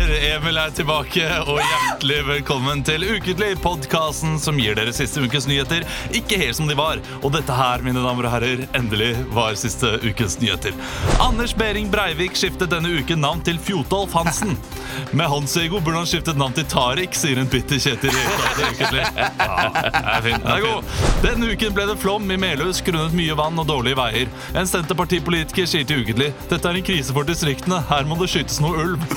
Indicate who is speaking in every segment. Speaker 1: er tilbake, og hjertelig velkommen til Ukentlig, podkasten som gir dere siste ukes nyheter ikke helt som de var. Og dette her, mine damer og herrer, endelig var siste ukens nyheter. Anders Behring Breivik skiftet denne uken navn til Fjotolf Hansen. Med hans ego burde han skiftet navn til Tariq, sier en bitter Kjetil Rekdal til Ukentlig. Ja, det er fint. Det er god. Denne uken ble det flom i Melhus grunnet mye vann og dårlige veier. En Senterpartipolitiker sier til Ukentlig dette er en krise for distriktene, her må det skytes noe ulv.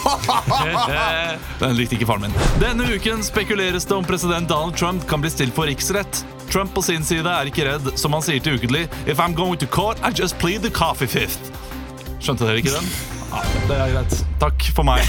Speaker 1: Den likte ikke faren min. Denne uken spekuleres det om president Donald Trump kan bli stilt for riksrett. Trump på sin side er ikke redd, som han sier til ukentlig If I'm going to court, I just plead the coffee fifth. Skjønte dere ikke den? Ja, det er greit. Takk for meg.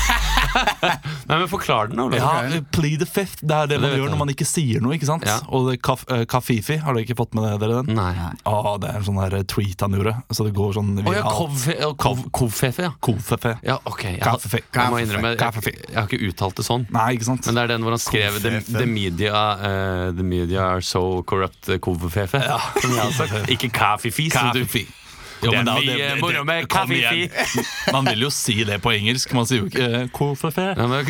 Speaker 2: Nei, men Forklar den, Olav.
Speaker 1: Ja, eh, plead the fifth. Det er det man
Speaker 2: vet
Speaker 1: gjør
Speaker 2: jeg.
Speaker 1: når man ikke sier noe, ikke sant?
Speaker 2: Ja.
Speaker 1: Og det kaf eh, kafifi, har dere ikke fått med dere den?
Speaker 2: Nei.
Speaker 1: Ah, det er en sånn her eh, tweet han gjorde, så det går sånn
Speaker 2: Å ja, eh,
Speaker 1: viralt.
Speaker 2: Kovfefe, ja.
Speaker 1: Kofefe.
Speaker 2: Ja, ok. Jeg,
Speaker 1: Kaffefe.
Speaker 2: har- jeg må innrømme, jeg,
Speaker 1: Kaffefe.
Speaker 2: jeg har ikke uttalt det sånn.
Speaker 1: Nei, ikke sant?
Speaker 2: Men det er den hvor han skrev The,
Speaker 3: Kovfefe.
Speaker 2: the, media, eh, the media are so corrupt, eh, Kovfefe. Som jeg har sagt. Ikke kaffefis. som du-
Speaker 1: Kaffefi. Jo,
Speaker 2: Det
Speaker 1: men
Speaker 2: er
Speaker 1: da-
Speaker 2: mye moro med
Speaker 1: kom
Speaker 2: kaffefi.
Speaker 1: igjen. Man vil jo si det på engelsk. Man sier jo ikke eh, kofefe.
Speaker 2: Nei, men,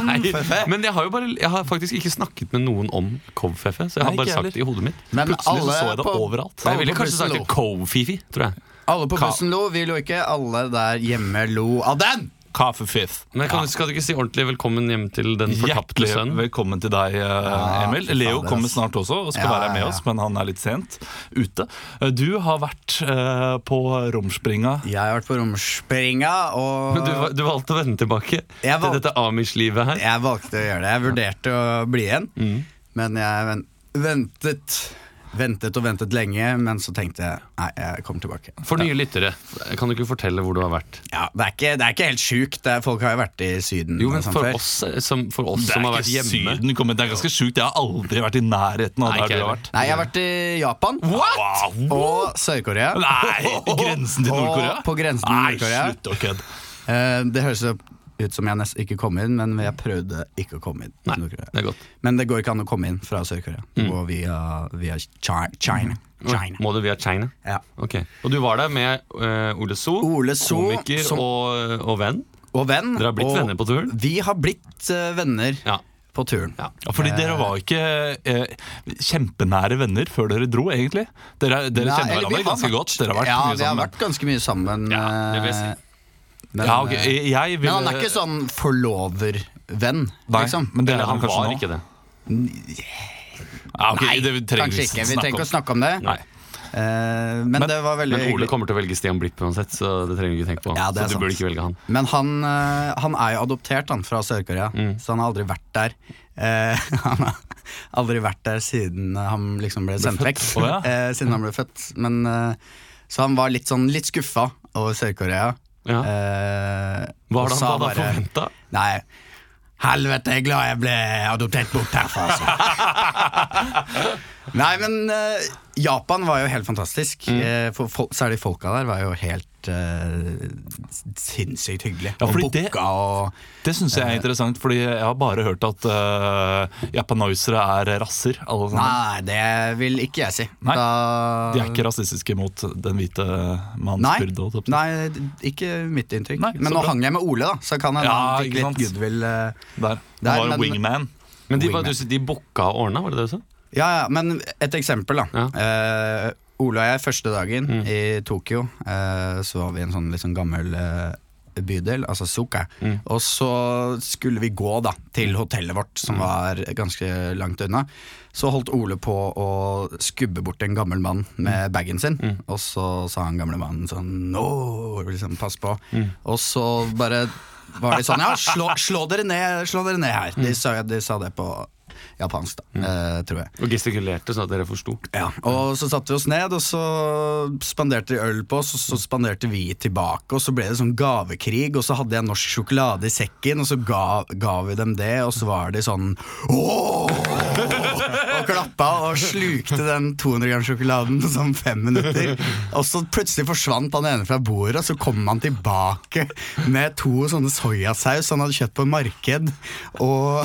Speaker 2: nei, men jeg har jo bare Jeg har faktisk ikke snakket med noen om Kovfefe, så jeg har
Speaker 1: Nei,
Speaker 2: bare
Speaker 1: ikke
Speaker 2: sagt det i hodet mitt.
Speaker 3: Men
Speaker 1: Plutselig så, så jeg det
Speaker 3: på-
Speaker 1: overalt.
Speaker 2: Jeg
Speaker 3: alle
Speaker 2: ville
Speaker 3: på
Speaker 2: kanskje sagt
Speaker 3: bussen
Speaker 2: det Kovfifi, tror jeg.
Speaker 3: Alle på
Speaker 1: Ka-
Speaker 3: bussen lo, vi lo ikke. Alle der hjemme lo av den!
Speaker 1: Kaffefif.
Speaker 2: Men kan, skal du ikke si ordentlig velkommen hjem til den fortapte
Speaker 1: Hjertelig
Speaker 2: sønnen?
Speaker 1: velkommen til deg, eh, Emil.
Speaker 3: fy faen,
Speaker 1: Leo
Speaker 3: det er
Speaker 1: kommer
Speaker 3: ass.
Speaker 1: snart også og skal
Speaker 3: Ja,
Speaker 1: være her med
Speaker 3: ja, ja.
Speaker 1: oss, men han er litt sent ute. Eh, Du har vært eh, på Romspringa.
Speaker 3: Jeg har vært på romspringa, og
Speaker 2: Men du, va- du valgte å vende tilbake
Speaker 3: Jeg
Speaker 2: til
Speaker 3: valg-
Speaker 2: dette Amish-livet her.
Speaker 3: jeg valgte å gjøre det. Jeg vurderte å bli igjen,
Speaker 1: Mm.
Speaker 3: men jeg ven ventet. Ventet og ventet lenge, men så tenkte jeg nei, jeg kommer tilbake.
Speaker 2: For nye lyttere, kan du ikke fortelle hvor du har vært?
Speaker 3: Ja, Det er ikke, det er ikke helt sjukt. Det er, folk har jo vært i Syden.
Speaker 2: Jo, men
Speaker 3: og sånn
Speaker 2: for
Speaker 3: før.
Speaker 2: oss som, for oss
Speaker 1: Det
Speaker 2: som
Speaker 1: er
Speaker 2: har vært
Speaker 1: ikke
Speaker 2: hjemme
Speaker 1: Syden kommet. Det er ganske sjukt. Jeg har aldri vært i nærheten av
Speaker 2: Nei,
Speaker 1: der
Speaker 2: ikke
Speaker 1: du har
Speaker 2: heller.
Speaker 1: vært.
Speaker 3: Nei, jeg har vært i Japan
Speaker 1: What?! Wow.
Speaker 3: og Sør-Korea.
Speaker 1: Nei! Grensen til
Speaker 3: Og
Speaker 1: Nord-Korea?
Speaker 3: på grensen til
Speaker 1: Nei,
Speaker 3: Nord-Korea.
Speaker 1: slutt å kødde.
Speaker 3: Eh, Det høres jo ut som jeg nesten ikke kom inn, men jeg prøvde ikke å komme inn. til
Speaker 2: Nei,
Speaker 3: Nord-Korea.
Speaker 2: det er godt.
Speaker 3: Men det går ikke an å komme inn fra Sør-Korea. Det går via, via Chi- China.
Speaker 2: Mm.
Speaker 3: China.
Speaker 2: Må du via China?
Speaker 3: Ja.
Speaker 2: Ok, Og du var der med eh, Ole So,
Speaker 3: Ole So,
Speaker 2: komiker
Speaker 3: som-
Speaker 2: og, og venn.
Speaker 3: Og venn.
Speaker 2: Dere har blitt
Speaker 3: og
Speaker 2: venner på turen?
Speaker 3: Vi har blitt eh, venner
Speaker 2: Ja.
Speaker 3: på turen.
Speaker 2: ja.
Speaker 1: Ja, fordi dere var ikke eh, kjempenære venner før dere dro, egentlig. Dere, dere
Speaker 3: Nei,
Speaker 1: kjenner
Speaker 3: eller vi
Speaker 1: hverandre ganske
Speaker 3: vært-
Speaker 1: godt. Dere har vært
Speaker 3: ja,
Speaker 1: mye
Speaker 3: vi har
Speaker 1: sammen.
Speaker 3: vært ganske mye sammen.
Speaker 2: Ja, det vil jeg
Speaker 3: eh, Men,
Speaker 1: Ja, ok,
Speaker 3: eh,
Speaker 1: jeg, jeg
Speaker 3: men
Speaker 1: ville,
Speaker 3: han er ikke sånn forlovervenn,
Speaker 1: Nei,
Speaker 3: liksom.
Speaker 1: men det er
Speaker 2: Eller han
Speaker 1: kanskje
Speaker 2: var
Speaker 1: nå.
Speaker 2: ikke det.
Speaker 1: Ja, ok,
Speaker 3: Nei,
Speaker 1: det trenger
Speaker 3: kanskje ikke. Vi trenger ikke å
Speaker 1: om.
Speaker 3: snakke om det.
Speaker 2: Nei.
Speaker 3: Eh, men, det var veldig
Speaker 2: Men Ole kommer til å velge Stian Blipp uansett, så det trenger du ikke tenke på.
Speaker 3: Ja, det er
Speaker 2: så du
Speaker 3: sant.
Speaker 2: burde ikke velge han.
Speaker 3: Men han, eh, han er jo adoptert han, fra Sør-Korea, så han har aldri vært der. Eh, han har aldri vært der siden han liksom ble sendt vekk.
Speaker 1: Å, ja.
Speaker 3: eh, siden han ble født. Men, eh, så han var litt, sånn, litt skuffa over Sør-Korea.
Speaker 2: Ja.
Speaker 3: Eh,
Speaker 2: Hva
Speaker 3: og
Speaker 2: hadde han, hva
Speaker 3: sa
Speaker 2: hadde han
Speaker 3: bare,
Speaker 2: forventa?
Speaker 3: Nei, helvete, jeg er glad jeg ble adoptert bort herfra, altså. nei, men eh, Japan var jo helt fantastisk.
Speaker 1: Mm.
Speaker 3: Eh, for, fol- særlig folka der var jo helt eh, sinnssykt hyggelige.
Speaker 1: Ja,
Speaker 3: og
Speaker 1: fordi det-
Speaker 3: booka og
Speaker 1: Det syns
Speaker 3: Eh.
Speaker 1: jeg er interessant, fordi jeg har bare hørt at uh, japanoisere er rasser. Alle sammen.
Speaker 3: Nei, det vil ikke jeg si.
Speaker 1: Nei,
Speaker 3: Da-
Speaker 1: De er ikke rasistiske mot den hvite mannens
Speaker 3: Nei.
Speaker 1: kurde. holdt jeg på å si.
Speaker 3: Nei, ikke mitt inntrykk.
Speaker 1: Nei, så
Speaker 3: men nå
Speaker 1: bra.
Speaker 3: hang jeg med Ole, da, så kan hende
Speaker 1: Ja,
Speaker 3: han fikk
Speaker 1: ikke
Speaker 3: litt
Speaker 1: sant.
Speaker 3: goodwill. eh.
Speaker 1: Der. Han
Speaker 3: Der,
Speaker 1: var en
Speaker 3: men-
Speaker 1: wingman.
Speaker 2: Men de, var,
Speaker 3: Wingman.
Speaker 2: du, sa- de booka og ordna, var det det du sa?
Speaker 3: Ja, ja, men et eksempel, da.
Speaker 2: Ja.
Speaker 3: Eh, Ole og jeg, første dagen i Tokyo, eh, så var vi i en sånn litt sånn gammel eh, bydel, altså Suka. Og så skulle vi gå da til hotellet vårt, som var ganske langt unna. Så holdt Ole på å skubbe bort en gammel mann med bagen sin, og så sa han gamle mannen sånn Nå, liksom, pass på. Og så bare var de sånn Ja, slå, slå, dere, ned, slå dere ned her. De, sa, de sa det på japansk, da, eh, tror jeg.
Speaker 2: Og gestikulerte sånn at dere forsto.
Speaker 3: Ja, og så satte vi oss ned, og så spanderte de øl på oss, og så spanderte vi tilbake, og så ble det sånn gavekrig, og så hadde jeg norsk sjokolade i sekken, og så ga, ga vi dem det, og så var de sånn Åh! Og klappa og slukte den 200 gram sjokoladen på sånn fem minutter. Og så plutselig forsvant han ene fra bordet, og så kom han tilbake med to sånne soyasaus han hadde kjøpt på marked, og,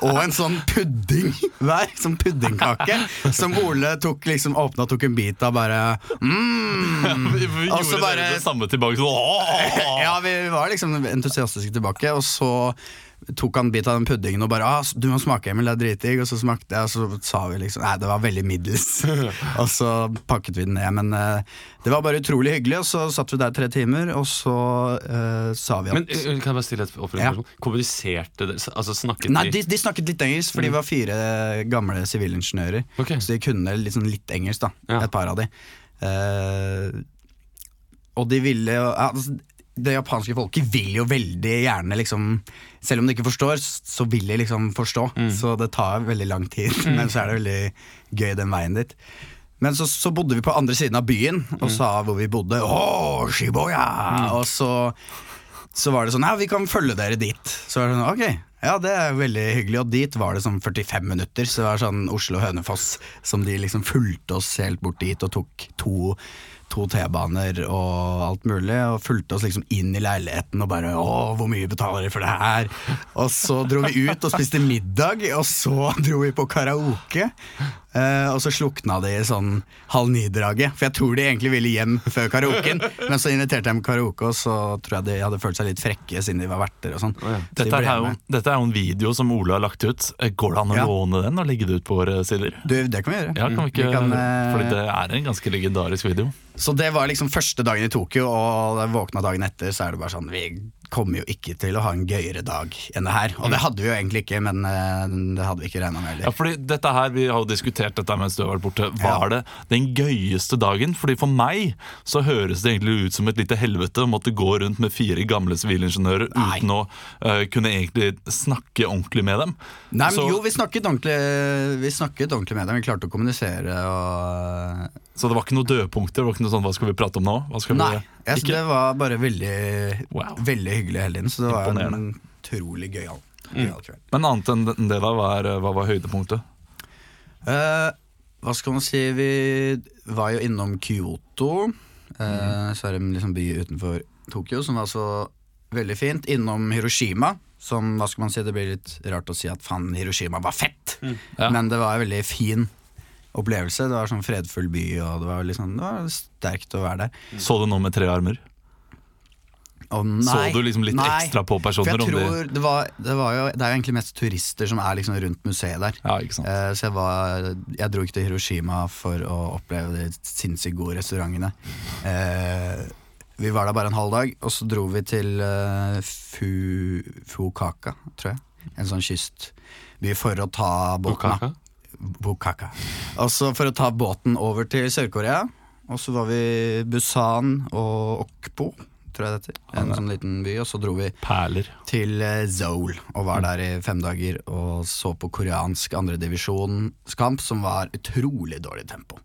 Speaker 3: og en sånn pudding hver, sånn puddingkake, som Ole tok liksom åpna og tok en bit av, bare mm.
Speaker 1: Vi, vi
Speaker 3: Og så
Speaker 1: gjorde
Speaker 3: bare-
Speaker 1: dere det samme tilbake. Sånn, «Åh!»
Speaker 3: Ja, vi var liksom entusiastiske tilbake, og så tok han en bit av den puddingen og bare ah, 'Du må smake, Emil, det er dritdigg', og så smakte jeg, og så sa vi liksom 'Nei, det var veldig middels', og så pakket vi den ned. Men eh, det var bare utrolig hyggelig, og så satt vi der tre timer, og så eh, sa vi at
Speaker 2: Men eh, Kan jeg bare stille et
Speaker 3: Ja.
Speaker 2: oppfølgingsspørsmål? Kommuniserte dere? s- Altså snakket Mm.
Speaker 3: Nei, de, de snakket litt engelsk, for de var fire gamle sivilingeniører.
Speaker 2: Ok.
Speaker 3: Så de kunne liksom litt engelsk, da.
Speaker 2: Ja.
Speaker 3: Et par av de. Eh, og de ville jo ja, altså, Det japanske folket vil jo veldig gjerne liksom Selv om de ikke forstår, s- så vil de liksom forstå.
Speaker 2: Mm.
Speaker 3: Så det tar veldig lang tid, men så er det veldig gøy den veien dit. Men så, så bodde vi på andre siden av byen og
Speaker 2: Mm.
Speaker 3: sa hvor vi bodde. Åh, Shibuya! Og så så var det sånn Ja, vi kan følge dere dit. Så var det sånn, ok ja, det er veldig hyggelig, og dit var det sånn 45 minutter. Så det var sånn Oslo-Hønefoss som de liksom fulgte oss helt bort dit og tok to, to T-baner og alt mulig. Og fulgte oss liksom inn i leiligheten og bare Å, hvor mye betaler dere for det her? Og så dro vi ut og spiste middag, og så dro vi på karaoke. Eh, og så slukna de i sånn halv ni-draget. For jeg tror de egentlig ville hjem før karaoken. men så inviterte jeg dem karaoke, og så tror jeg de hadde følt seg litt frekke siden de var verter og sånn.
Speaker 2: ja.
Speaker 3: Så de
Speaker 1: Dette
Speaker 3: ble
Speaker 1: er, jo,
Speaker 3: med.
Speaker 1: dette er jo en video som Ole har lagt ut. Eh, Går det an å
Speaker 3: Ja.
Speaker 1: låne den og legge det ut på våre sider?
Speaker 3: Du, det kan vi gjøre.
Speaker 1: Ja, kan vi ikke,
Speaker 3: kan, eh,
Speaker 1: Fordi det er en ganske legendarisk video.
Speaker 3: Så det var liksom første dagen i Tokyo, og da jeg våkna dagen etter, så er det bare sånn Vi kommer jo ikke til å ha en gøyere dag enn det her. Og det hadde vi jo egentlig ikke, men eh, det hadde vi ikke regna med
Speaker 1: Mm. Ja,
Speaker 3: heller.
Speaker 1: fordi dette her, Vi har jo diskutert dette mens du har vært borte. Var det den gøyeste dagen? Fordi For meg så høres det egentlig ut som et lite helvete å måtte gå rundt med fire gamle sivilingeniører
Speaker 3: Nei.
Speaker 1: uten å eh, kunne egentlig snakke ordentlig med dem.
Speaker 3: Nei, men
Speaker 1: så,
Speaker 3: jo, vi snakket ordentlig Vi snakket ordentlig med dem. Vi klarte å kommunisere og
Speaker 1: så det var ikke noe dødpunkter? Det var ikke noe sånn, Hva skal vi prate om nå? Hva skal
Speaker 3: Nei,
Speaker 1: vi...
Speaker 3: jeg, synes
Speaker 1: Ikke?
Speaker 3: det var bare veldig,
Speaker 1: Wow.
Speaker 3: veldig hyggelig hele tiden. Så det var en
Speaker 1: Imponerende. Mm.
Speaker 3: utrolig gøyal gøy kveld.
Speaker 1: Men annet enn det, da, hva, er, hva var høydepunktet?
Speaker 3: Eh, hva skal man si? Vi var jo innom Kyoto.
Speaker 1: Mm.
Speaker 3: Uh, så er det en liksom by utenfor Tokyo som var så veldig fint. Innom Hiroshima, som hva skal man si, det blir litt rart å si at faen, Hiroshima var fett!
Speaker 1: Ja.
Speaker 3: Men det var en veldig fin opplevelse. Det var sånn fredfull by, og det var, liksom, det var sterkt å være der.
Speaker 1: Så du noe med tre armer?
Speaker 3: Og nei,
Speaker 1: Så du liksom litt
Speaker 3: nei.
Speaker 1: ekstra på
Speaker 3: For
Speaker 1: personer?
Speaker 3: jeg
Speaker 1: om de-
Speaker 3: tror det, var, det, var jo, det er jo egentlig mest turister som er liksom rundt museet der.
Speaker 1: Ja, ikke sant?
Speaker 3: Eh, Så jeg, var, jeg dro ikke til Hiroshima for å oppleve de sinnssykt gode restaurantene. Eh, Vi var der bare en halv dag, og så dro vi til eh, Fu, Fukaka, tror jeg. En sånn kystby for å ta båten. da.
Speaker 2: Bukaka?
Speaker 3: Bukaka. Og så for å ta båten over til Sør-Korea. Og så var vi Busan og Okpo, tror jeg det heter. En sånn liten by. Og så dro vi
Speaker 1: Perler.
Speaker 3: til eh, Seoul og var der i fem dager og så på koreansk andredivisjonskamp som var utrolig dårlig tempo.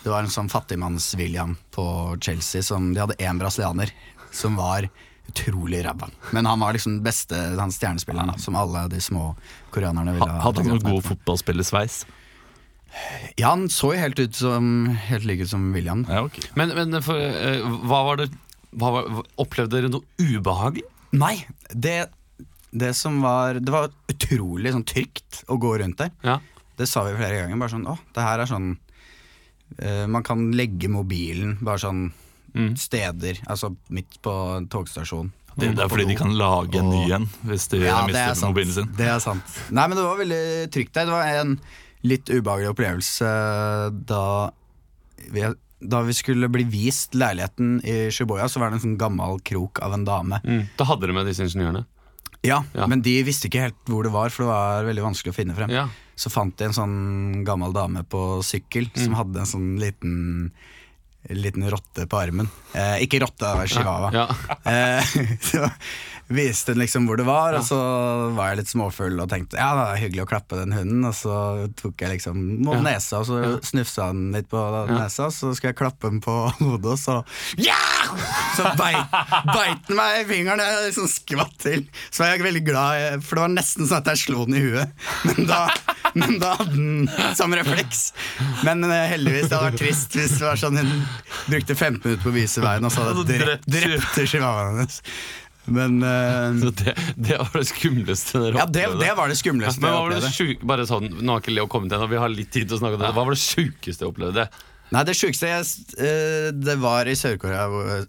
Speaker 3: Det var en sånn fattigmanns-William på Chelsea som De hadde én brasilianer som var utrolig ræva. Men han var liksom den beste han stjernespilleren da, som alle de små koreanerne ville
Speaker 1: Ha-
Speaker 3: ha.
Speaker 1: Hadde han noen god fotballspillersveis?
Speaker 3: Ja, han så jo helt ut som Helt like ut som William.
Speaker 1: Ja, ok.
Speaker 2: Men, men for, eh, hva var det hva var, Opplevde dere noe ubehagelig?
Speaker 3: Nei, det, det som var Det var utrolig sånn trygt å gå rundt der.
Speaker 2: Ja.
Speaker 3: Det sa vi flere ganger. Bare sånn, å, det her er sånn eh, Man kan legge mobilen bare sånn steder. Altså midt på en togstasjon.
Speaker 1: Mm. Det, det er fordi de kan lage en ny en hvis de
Speaker 3: Ja, det er
Speaker 1: mister
Speaker 3: sant.
Speaker 1: mobilen sin.
Speaker 3: Det er sant. Nei, men det var veldig trygt der. Det var en litt ubehagelig opplevelse eh, da vi, da vi skulle bli vist leiligheten i Shibuya, så var det en sånn gammel krok av en dame.
Speaker 2: Mm. Da hadde dere med disse ingeniørene?
Speaker 3: Ja,
Speaker 2: Ja.
Speaker 3: men de visste ikke helt hvor det var, for det var veldig vanskelig å finne frem.
Speaker 2: Ja.
Speaker 3: Så fant de en sånn gammel dame på sykkel
Speaker 2: Mm.
Speaker 3: som hadde en sånn liten Liten rotte på armen. Eh, ikke rotte, det var chihuahua.
Speaker 2: Ja.
Speaker 3: Eh, så viste hun liksom hvor det var, og så var jeg litt småfull og tenkte ja, det var hyggelig å klappe den hunden, og så tok jeg liksom mot
Speaker 2: Ja.
Speaker 3: nesa, og så snufsa den litt på nesa, og så skulle jeg klappe den på hodet, og så ja! Så beit, beit den meg i fingeren, og jeg liksom skvatt til. Så var jeg veldig glad, eh, for det var nesten sånn at jeg slo den i huet, men da men da hadde den som refleks. Men eh, heldigvis, det hadde vært trist hvis det var sånn hun brukte 15 minutter på å vise veien, og så hadde
Speaker 1: Og
Speaker 3: jeg
Speaker 1: drept-
Speaker 3: drept, drepte chihuahuaen hennes. Men eh,
Speaker 2: Så det, det var det skumleste dere
Speaker 3: Ja, det, det var det
Speaker 2: Ja,
Speaker 3: skumleste
Speaker 2: Men
Speaker 3: jeg
Speaker 2: hva var det
Speaker 3: opplevde.
Speaker 2: sjuk, bare sånn, Nå har ikke Leo kommet ennå, vi har litt tid til å snakke om det. Hva var det sjukeste jeg opplevde?
Speaker 3: Nei, det sjukeste jeg s- eh, Det var i Sør-Korea hvor-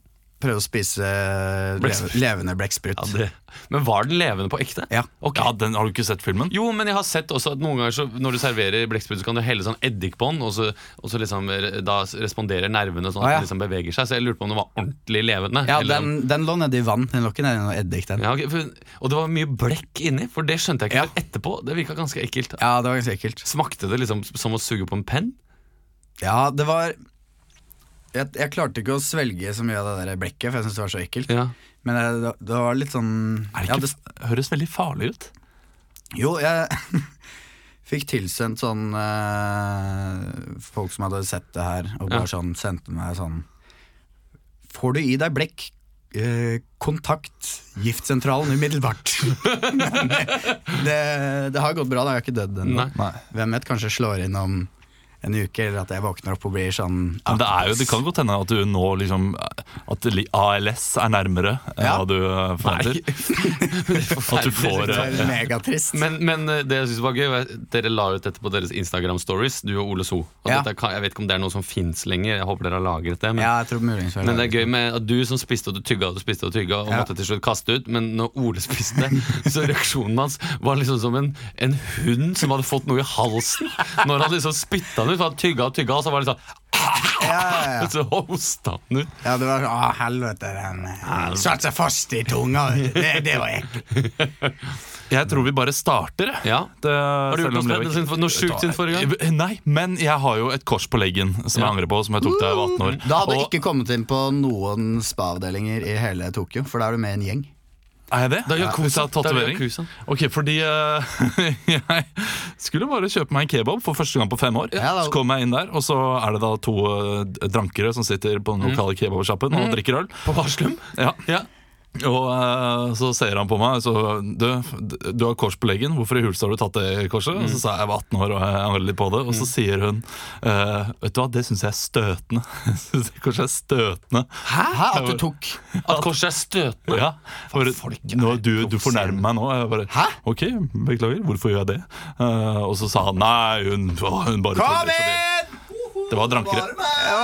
Speaker 3: prøvde å spise eh,
Speaker 2: Blekksprut.
Speaker 3: leve- levende blekksprut.
Speaker 1: Ja, det,
Speaker 2: Men var den levende på ekte?
Speaker 3: Ja.
Speaker 2: Ok.
Speaker 1: ja, den, har du ikke sett filmen?
Speaker 2: Jo, men jeg har sett også at noen ganger så, når du serverer blekksprut, så kan du helle sånn eddik på den, og så, og så liksom, eh, da responderer nervene sånn at
Speaker 3: Ah, ja.
Speaker 2: den liksom beveger seg. Så jeg lurte på om den var ordentlig levende.
Speaker 3: Ja,
Speaker 2: eller om-
Speaker 3: den, den lå nedi vann. Den lå ikke nedi noe eddik, den.
Speaker 2: Ja,
Speaker 3: Ja.
Speaker 2: ok, for, og det var mye blekk inni, for det skjønte jeg ikke
Speaker 3: Ja.
Speaker 2: før etterpå. Det virka ganske ekkelt.
Speaker 3: det var ganske ekkelt.
Speaker 2: Smakte det liksom som å suge på en penn?
Speaker 3: Ja, det var jeg, jeg klarte ikke å svelge så mye av det der blekket, for jeg syntes det var så ekkelt.
Speaker 2: Ja.
Speaker 3: Men det, det var litt sånn
Speaker 1: Er
Speaker 3: ja,
Speaker 1: det
Speaker 3: det,
Speaker 1: ikke, høres veldig farlig ut.
Speaker 3: Jo, jeg fikk tilsendt sånn eh, Folk som hadde sett det her, og bare
Speaker 2: Ja.
Speaker 3: sånn sendte meg sånn Får du i deg blekk? eh, kontakt giftsentralen umiddelbart. det, det har gått bra, da. Jeg har ikke dødd ennå.
Speaker 2: Nei.
Speaker 1: Nei.
Speaker 3: Hvem vet, kanskje slår inn om en uke, eller at jeg våkner opp og blir sånn
Speaker 1: Men det, er jo, det kan godt hende at du nå liksom At li- ALS er nærmere enn
Speaker 3: Ja.
Speaker 1: hva du eh, forventer. At du får
Speaker 3: Det
Speaker 1: eh,
Speaker 3: er megatrist.
Speaker 2: Men, men eh, det jeg synes var gøy var at Dere la ut dette på deres Instagram-stories, du og Ole So. Og
Speaker 3: Ja.
Speaker 2: dette kan, jeg vet ikke om det er noe som fins lenger. Jeg håper dere har lagret det. Men,
Speaker 3: ja, jeg tror muligens
Speaker 2: men det er gøy med at du som spiste og du tygga og du spiste og tygga og
Speaker 3: Ja.
Speaker 2: måtte til slutt kaste ut. Men når Ole spiste, så reaksjonen hans var liksom som en, en hund som hadde fått noe i halsen. Når han liksom spytta den ut, for han tygga og tygga, og så var det sånn
Speaker 3: Ja, ja, ja.
Speaker 2: Så hosta han ut.
Speaker 3: Ja, det var sånn, Å, helvete, den eh, satt seg fast i tunga. Det, det var ekkelt.
Speaker 1: Jeg tror vi bare starter, jeg.
Speaker 2: Ja.
Speaker 1: Det,
Speaker 2: Har du gjort noe spennende siden for- noe sjukt siden forrige gang?
Speaker 1: Nei, men jeg har jo et kors på leggen som jeg
Speaker 2: Ja.
Speaker 1: angrer på, som jeg tok da jeg var 18 år.
Speaker 3: Da hadde du
Speaker 1: Og-
Speaker 3: ikke kommet inn på noen spa-avdelinger i hele Tokyo, for da er du med i en gjeng.
Speaker 1: Er jeg det?
Speaker 2: Det er
Speaker 1: Ja,
Speaker 2: Yakuza.
Speaker 1: hvis jeg har
Speaker 2: Det er
Speaker 1: tatovering?
Speaker 2: Yakuza.
Speaker 1: Ok, fordi eh, jeg skulle bare kjøpe meg en kebab for første gang på fem år.
Speaker 3: Ja, da-
Speaker 1: så kom jeg inn der, og så er det da to eh, drankere som sitter på
Speaker 3: Mm.
Speaker 1: den lokale kebabsjappen og drikker øl.
Speaker 2: På Varslum?
Speaker 1: Ja.
Speaker 2: Ja.
Speaker 1: Og eh, så ser han på meg så, du, du har kors på leggen, hvorfor i huleste har du tatt det korset?
Speaker 3: Mm.
Speaker 1: Og så sa jeg jeg var 18 år og jeg angrer litt på det. Og så sier hun eh, Vet du hva, det syns jeg er støtende. Jeg synes det korset er støtende.
Speaker 3: Hæ? At du tok
Speaker 2: At korset er støtende?
Speaker 1: Ja, for, nå, du, du fornærmer meg nå. Jeg bare,
Speaker 3: Hæ?
Speaker 1: Ok, beklager. Hvorfor gjør jeg det? Eh, og så sa han nei, hun, å, hun bare tuller,
Speaker 3: Kom
Speaker 1: så
Speaker 3: inn!
Speaker 1: det- Det var drankere.
Speaker 3: Å,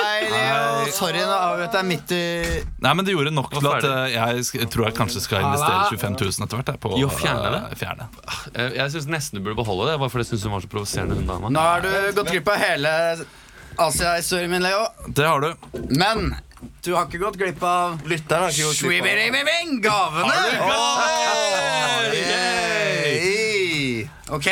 Speaker 3: hei, Leo. Sorry, nå avbrøt jeg midt i
Speaker 1: Nei, men det gjorde nok til at eh, jeg sk- tror jeg kanskje skal investere
Speaker 3: Halla.
Speaker 1: 25 000 etter hvert. jeg, På,
Speaker 2: I å fjerne
Speaker 1: eh, Fjerne.
Speaker 2: Jeg, jeg syns nesten du burde beholde det, bare fordi jeg syns hun var så provoserende. hun dama.
Speaker 3: Nå har du gått glipp av hele Asia-historien min, Leo.
Speaker 1: Det har du.
Speaker 3: Men du har ikke gått glipp av
Speaker 4: Lytteren har ikke gått glipp av
Speaker 3: Swimmingbing, gavene! Oi! Yay! Ok,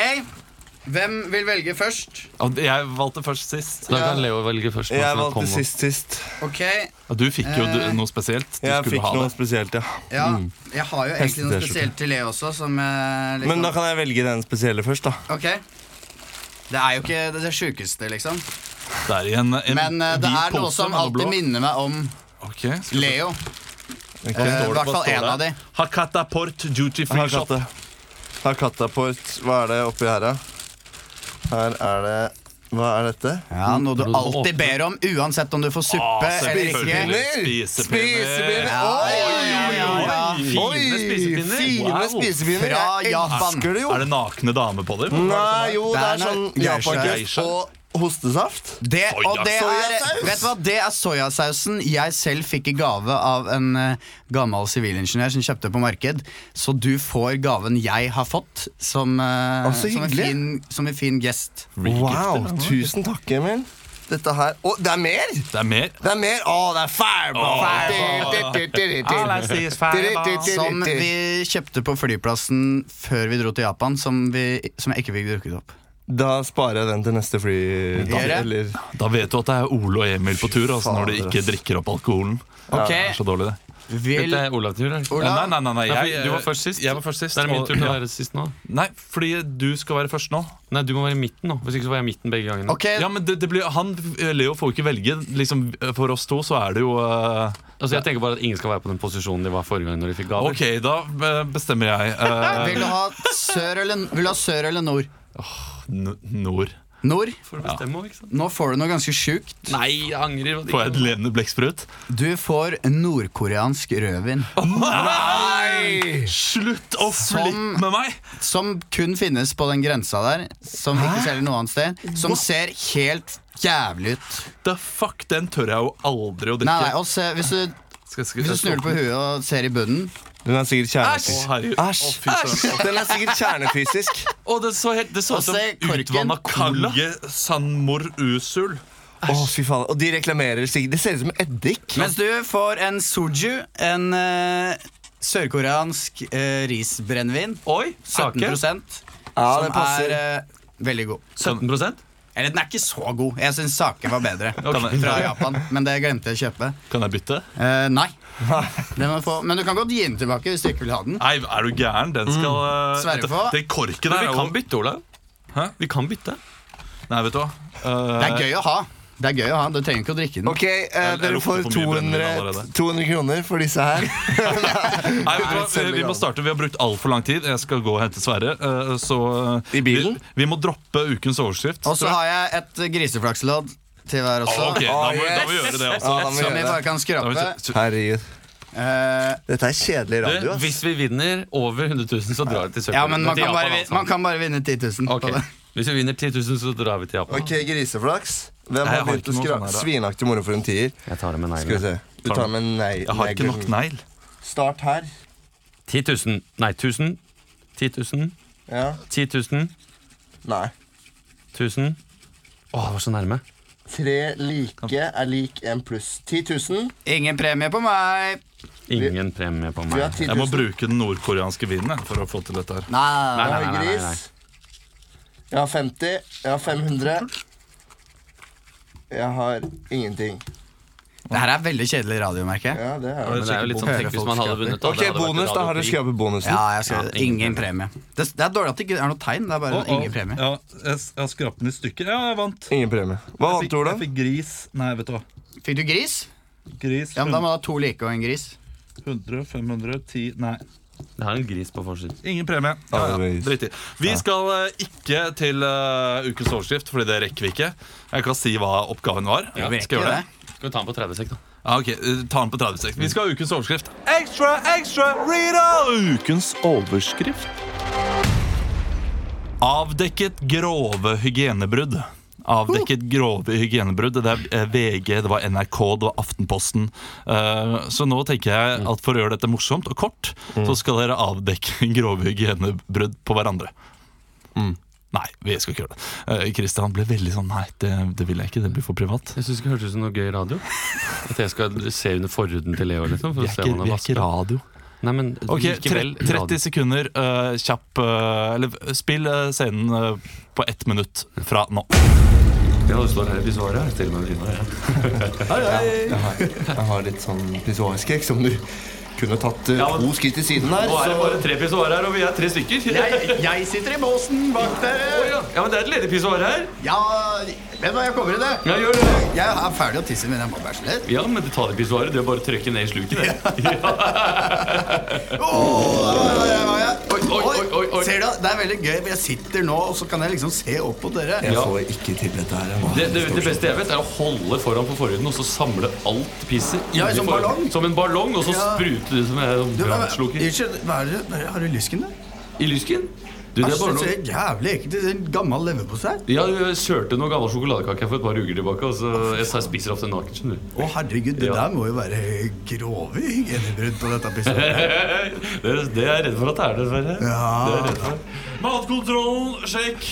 Speaker 3: hvem vil velge først?
Speaker 1: Og Jeg valgte først sist.
Speaker 2: Da kan Leo velge først. mens
Speaker 4: Jeg
Speaker 2: han
Speaker 4: valgte
Speaker 2: kommer.
Speaker 4: sist sist.
Speaker 3: Ok,
Speaker 1: Ja, Du fikk jo
Speaker 3: Eh,
Speaker 1: du- noe spesielt. Du
Speaker 4: Jeg
Speaker 1: skulle
Speaker 4: fikk
Speaker 1: ha
Speaker 4: noe
Speaker 1: det.
Speaker 4: spesielt, ja.
Speaker 3: ja, jeg har jo egentlig noe
Speaker 4: Hesteteskjorte.
Speaker 3: spesielt til Leo også som eh, liksom,
Speaker 4: Men da kan jeg velge den spesielle først, da.
Speaker 3: Ok Det er jo ikke det, det sjukeste liksom
Speaker 1: Det er i en, en
Speaker 3: Men eh, det
Speaker 1: hvit
Speaker 3: er noe
Speaker 1: pose
Speaker 3: som
Speaker 1: med noe blå.
Speaker 3: alltid minner meg om
Speaker 1: Ok, skal vi-
Speaker 3: Leo
Speaker 4: Ok.
Speaker 3: Eh, I
Speaker 1: står det-
Speaker 3: hvert
Speaker 1: hva
Speaker 3: fall
Speaker 1: står
Speaker 3: en
Speaker 1: det?
Speaker 3: av de
Speaker 1: Hakata Port Duty Free
Speaker 4: Her
Speaker 1: Shop.
Speaker 4: katta. Her katta på et Hva er det oppi her, da? Her er det Hva er dette?
Speaker 3: Ja, noe du
Speaker 2: Noe du åpner.
Speaker 3: alltid ber om Uansett om du får suppe
Speaker 1: Ah,
Speaker 3: eller ikke
Speaker 1: selvfølgelig. Spisepinner.
Speaker 4: Spisepinner!
Speaker 3: Ja,
Speaker 4: Oi!
Speaker 3: ja, ja, ja.
Speaker 4: Oi!
Speaker 2: Fine spisepinner.
Speaker 4: Fine
Speaker 1: Wow.
Speaker 4: spisepinner.
Speaker 3: Fra
Speaker 4: Jeg
Speaker 3: Japan.
Speaker 4: elsker det jo.
Speaker 1: Er det nakne damer på dem?
Speaker 3: Mm.
Speaker 4: Nei, jo, det
Speaker 3: Det er
Speaker 4: er sånn
Speaker 3: noe-
Speaker 4: japankreft
Speaker 1: Geisha.
Speaker 4: og hostesaft.
Speaker 3: Det, og det er,
Speaker 4: Soyasaus.
Speaker 3: vet du hva, det er soyasausen jeg selv fikk i gave av en eh, gammel sivilingeniør som kjøpte på marked. Så du får gaven jeg har fått, som, eh,
Speaker 4: Å, så
Speaker 3: som, en,
Speaker 4: hyggelig.
Speaker 3: fin, som en fin gest.
Speaker 4: Wow, tusen takk, Emil. Dette her Å, det er mer!
Speaker 1: Det er mer.
Speaker 4: Det er mer Å, det er fireball!
Speaker 3: Som vi kjøpte på flyplassen før vi dro til Japan, som, vi, som jeg ikke fikk drukket opp.
Speaker 4: Da sparer jeg den til neste fly.
Speaker 3: Gjør det.
Speaker 4: eller-
Speaker 1: Da vet du at det er Ole og Emil på tur altså, når de
Speaker 4: fader,
Speaker 1: ikke drikker opp alkoholen.
Speaker 3: Ok.
Speaker 1: Det er så dårlig, det.
Speaker 3: Vil
Speaker 2: Dette er Olav tur, eller?
Speaker 3: Ola?
Speaker 1: Nei, nei, nei, nei,
Speaker 2: Nei,
Speaker 1: jeg,
Speaker 2: for du var først sist.
Speaker 1: Jeg var først sist.
Speaker 2: Det er min
Speaker 1: og-
Speaker 2: tur til å
Speaker 1: ja.
Speaker 2: være sist nå.
Speaker 1: Nei, fordi du skal være først nå.
Speaker 2: Nei, du må være i midten nå. Hvis ikke så var jeg i midten begge gangene.
Speaker 3: Ok,
Speaker 1: Ja, men det, det blir, han, eh, Leo får jo ikke velge. Liksom, for oss to så er det jo eh,
Speaker 2: Altså, jeg tenker bare at ingen skal være på den posisjonen de var forrige gang når de fikk gaver.
Speaker 1: Ok, da eh, bestemmer jeg. eh,
Speaker 3: vil, du ha sør eller, vil du ha sør eller nord?
Speaker 1: n- nord.
Speaker 3: Nord?
Speaker 2: Får du bestemme over, ikke sant?
Speaker 3: Nå får du noe ganske sjukt.
Speaker 2: Nei, jeg angrer. på at
Speaker 1: Får jeg
Speaker 2: ikke-
Speaker 1: et levende blekksprut?
Speaker 3: Du får nordkoreansk rødvin.
Speaker 1: Nei! Slutt å flippe med meg!
Speaker 3: Som kun finnes på den grensa der, som ikke selger noe annet sted. Som ser helt jævlig ut.
Speaker 1: The fuck, Den tør jeg jo aldri å drikke.
Speaker 3: Nei, nei, og se, hvis du
Speaker 1: Skal, skal,
Speaker 3: Hvis du snur det på huet og ser i bunnen
Speaker 4: Den er sikkert
Speaker 1: Æsj! Å,
Speaker 4: kjernefysisk.
Speaker 1: herregud. Å, fy søren.
Speaker 4: Den er sikkert kjernefysisk.
Speaker 2: Å, det så helt Det så ut
Speaker 3: Og
Speaker 2: som
Speaker 3: se korken.
Speaker 2: utvanna cola.
Speaker 1: Kange Sanmor Usul.
Speaker 4: Å, fy faen. Og de reklamerer sikkert. Det ser ut som eddik.
Speaker 3: Mens du får en soju, en eh, sørkoreansk eh, risbrennevin,
Speaker 2: Oi, sake.
Speaker 3: 17
Speaker 4: Ja,
Speaker 3: som
Speaker 4: det passer.
Speaker 3: er eh, veldig god.
Speaker 2: 17
Speaker 3: Eller den er ikke så god. Jeg syns sake var bedre
Speaker 1: Kan jeg-
Speaker 3: fra Japan, men det glemte jeg å kjøpe.
Speaker 1: Kan jeg bytte?
Speaker 3: Eh, nei. Den må du få. Men du kan godt gi den tilbake hvis du ikke vil ha den.
Speaker 1: Nei, er du gæren? Den skal eh,
Speaker 3: Mm. Sverre
Speaker 1: dette-
Speaker 3: på.
Speaker 1: Det korket
Speaker 2: Men
Speaker 1: der
Speaker 2: vi
Speaker 1: er
Speaker 2: kan
Speaker 1: jo
Speaker 2: bytte, Olav.
Speaker 1: Hæ?
Speaker 2: Vi kan bytte.
Speaker 1: Nei, vet du hva. Eh,
Speaker 3: Det er gøy å ha. Det er gøy å ha, Du trenger ikke å drikke den.
Speaker 4: Ok, eh,
Speaker 1: jeg
Speaker 4: dere
Speaker 1: lukter
Speaker 4: får
Speaker 1: for mye brennevin
Speaker 4: 200,
Speaker 1: allerede.
Speaker 4: 200 kroner for disse her.
Speaker 1: Nei, vet du hva? Vi,
Speaker 4: Selger
Speaker 1: vi må
Speaker 4: gave.
Speaker 1: starte. Vi har brukt altfor lang tid. Jeg skal gå og hente Sverre. eh, Så eh,
Speaker 4: I bilen?
Speaker 1: Vi, vi må droppe ukens overskrift.
Speaker 3: Og så har jeg et eh, griseflakslodd til hver også.
Speaker 1: Ok, da må, da må vi
Speaker 4: yes.
Speaker 1: gjøre det også.
Speaker 4: Ja, da må vi
Speaker 3: Som vi
Speaker 4: gjøre
Speaker 3: bare
Speaker 4: det.
Speaker 3: kan skrape.
Speaker 1: Da må vi-
Speaker 4: Herregud.
Speaker 3: Eh,
Speaker 4: Dette er kjedelig
Speaker 2: Du,
Speaker 4: radio. ass.
Speaker 2: hvis vi vinner over 100 000, så drar vi til Sør-Korea.
Speaker 3: ja, men man
Speaker 2: Til
Speaker 3: kan,
Speaker 2: Japan,
Speaker 3: bare, vin-
Speaker 2: altså.
Speaker 3: man kan bare vinne 10 000
Speaker 2: Ok.
Speaker 3: på det.
Speaker 2: Hvis vi vinner 10 000, så drar vi til Japan.
Speaker 4: Ok, griseflaks. Hvem
Speaker 1: Nei, jeg
Speaker 4: har
Speaker 1: har
Speaker 4: begynt å
Speaker 1: ikke noe
Speaker 4: skra
Speaker 1: sånn her, da.
Speaker 4: Svinaktig moro for en tier.
Speaker 2: Jeg tar det med
Speaker 4: Skal vi se. Du
Speaker 1: Tar
Speaker 4: tar med nei.
Speaker 1: Jeg har ikke nok negl.
Speaker 4: Start her.
Speaker 2: 10 000. Nei, 1000. 10 000.
Speaker 4: Ja.
Speaker 2: 10 000.
Speaker 4: Nei.
Speaker 2: 1000. Å, det var så nærme.
Speaker 4: Tre like er lik en pluss 10 000.
Speaker 3: Ingen premie på meg.
Speaker 2: Ingen premie på
Speaker 4: Vi har
Speaker 2: meg.
Speaker 4: 10
Speaker 1: Jeg må
Speaker 4: 000.
Speaker 1: bruke den nordkoreanske vinen jeg, for å få til dette her.
Speaker 3: Nei.
Speaker 2: Nei,
Speaker 4: Jeg
Speaker 2: nei,
Speaker 4: har
Speaker 2: nei, nei, nei.
Speaker 4: gris. Jeg har 50. Jeg har 500. Jeg har ingenting.
Speaker 3: Det her er veldig kjedelig radio, merker jeg.
Speaker 4: Ja, det er det.
Speaker 2: Men det er jo litt sånn tenk hvis man hadde vunnet. da.
Speaker 4: Ok,
Speaker 2: Det hadde vært
Speaker 4: bonus. Da har dere
Speaker 2: radiopris.
Speaker 4: skrevet bonusen.
Speaker 3: Ja, jeg skal,
Speaker 2: Ja, ingen
Speaker 3: ingen, premie. Det, det er dårlig at det ikke er noe tegn. Det er bare ingen premie.
Speaker 1: Ja, jeg, jeg har skrapt den i stykker. Ja, jeg vant.
Speaker 4: Ingen premie. Hva vant du,
Speaker 1: jeg
Speaker 4: Olav?
Speaker 1: fikk gris. Nei, vet du hva.
Speaker 3: Fikk du gris?
Speaker 1: Gris.
Speaker 3: Ja, men Da må du ha to like og en gris.
Speaker 1: 100, 500, 10 Nei.
Speaker 2: Det er en gris på forsiden.
Speaker 1: Ingen premie. Ja, ja. Drit i. Vi skal eh, ikke til eh, ukens overskrift, Fordi det rekker vi ikke. Jeg kan si hva oppgaven var.
Speaker 2: Ja, vi
Speaker 1: skal jeg gjøre det?
Speaker 2: Skal vi ta den på 30 sek, da?
Speaker 1: Ja, ok, eh, Ta den på 30 sekunder. Vi skal ha ukens overskrift. Ekstra, ekstra, Rita! Ukens overskrift. Avdekket grove hygienebrudd. Avdekket grove hygienebrudd. Det er eh, VG, det var NRK, det var Aftenposten. Eh, Så nå tenker jeg at for å gjøre dette morsomt og kort, så skal dere avdekke grove hygienebrudd på hverandre. Mm. Nei, vi skal ikke gjøre det. Eh, Christian ble veldig sånn Nei, det, det vil jeg ikke. Det blir for privat.
Speaker 2: Jeg syns det hørtes ut som noe gøy radio. At jeg skal se under forhuden til Leo, liksom. For
Speaker 1: Vi er
Speaker 2: å se
Speaker 1: ikke,
Speaker 2: om han
Speaker 1: vi
Speaker 2: er
Speaker 1: er ikke
Speaker 2: vasket.
Speaker 1: radio.
Speaker 2: Nei, men
Speaker 1: Ok, tre,
Speaker 2: likevel.
Speaker 1: 30 sekunder eh, kjapp eh, Eller spill eh, scenen eh, på ett minutt fra nå.
Speaker 2: Ja, det står her i svaret. her, Til og med vinner, ja.
Speaker 4: Jeg har litt sånn pissoarskrekk som du kunne tatt eh,
Speaker 2: men-
Speaker 4: to skritt til siden her.
Speaker 2: Nå er det
Speaker 4: Så
Speaker 2: bare tre pissoarer her, og vi er tre stykker.
Speaker 3: Jeg, sitter i båsen bak dere.
Speaker 2: Ja, men det er et ledig pissoar her.
Speaker 3: Ja, vet du hva, jeg kommer i det.
Speaker 2: Ja, gjør det.
Speaker 3: Jeg er ferdig å tisse, men jeg må bæsje litt.
Speaker 2: Ja, men det tar det pissoaret. Det er bare å trykke ned i sluket, det.
Speaker 3: Oi,
Speaker 2: oi, oi, oi, oi.
Speaker 3: Ser du, det er veldig gøy, for jeg sitter nå, og så kan jeg liksom se opp på dere.
Speaker 4: jeg får ikke til dette her. jeg må ha
Speaker 2: Det, det,
Speaker 4: en stor
Speaker 2: det beste jeg vet, er å holde foran på forhuden og så samle alt pisset
Speaker 3: Ja,
Speaker 2: inni
Speaker 3: som
Speaker 2: forhuden.
Speaker 3: ballong.
Speaker 2: Som en ballong, og så
Speaker 3: Ja.
Speaker 2: sprute det som en
Speaker 3: Du, hva-
Speaker 2: brannsluker.
Speaker 3: Unnskyld, hva er det- hva er det- har du lysken, du?
Speaker 2: I lysken? Du, det er
Speaker 3: Æsj,
Speaker 2: bare
Speaker 3: det
Speaker 2: noe
Speaker 3: ser jævlig ekkelt ut. Det er En gammel leverpostei.
Speaker 2: ja, jeg kjørte noe gammel sjokoladekake for et par uker tilbake. Og så jeg, jeg spiser ofte naken, skjønner du.
Speaker 3: Å, herregud, det
Speaker 2: Ja.
Speaker 3: der må jo være grove hygienebrudd på dette episodet.
Speaker 2: Det, det er jeg redd for at det er, dessverre.
Speaker 3: Ja.
Speaker 2: Det er jeg redd for.
Speaker 1: Matkontrollen, sjekk!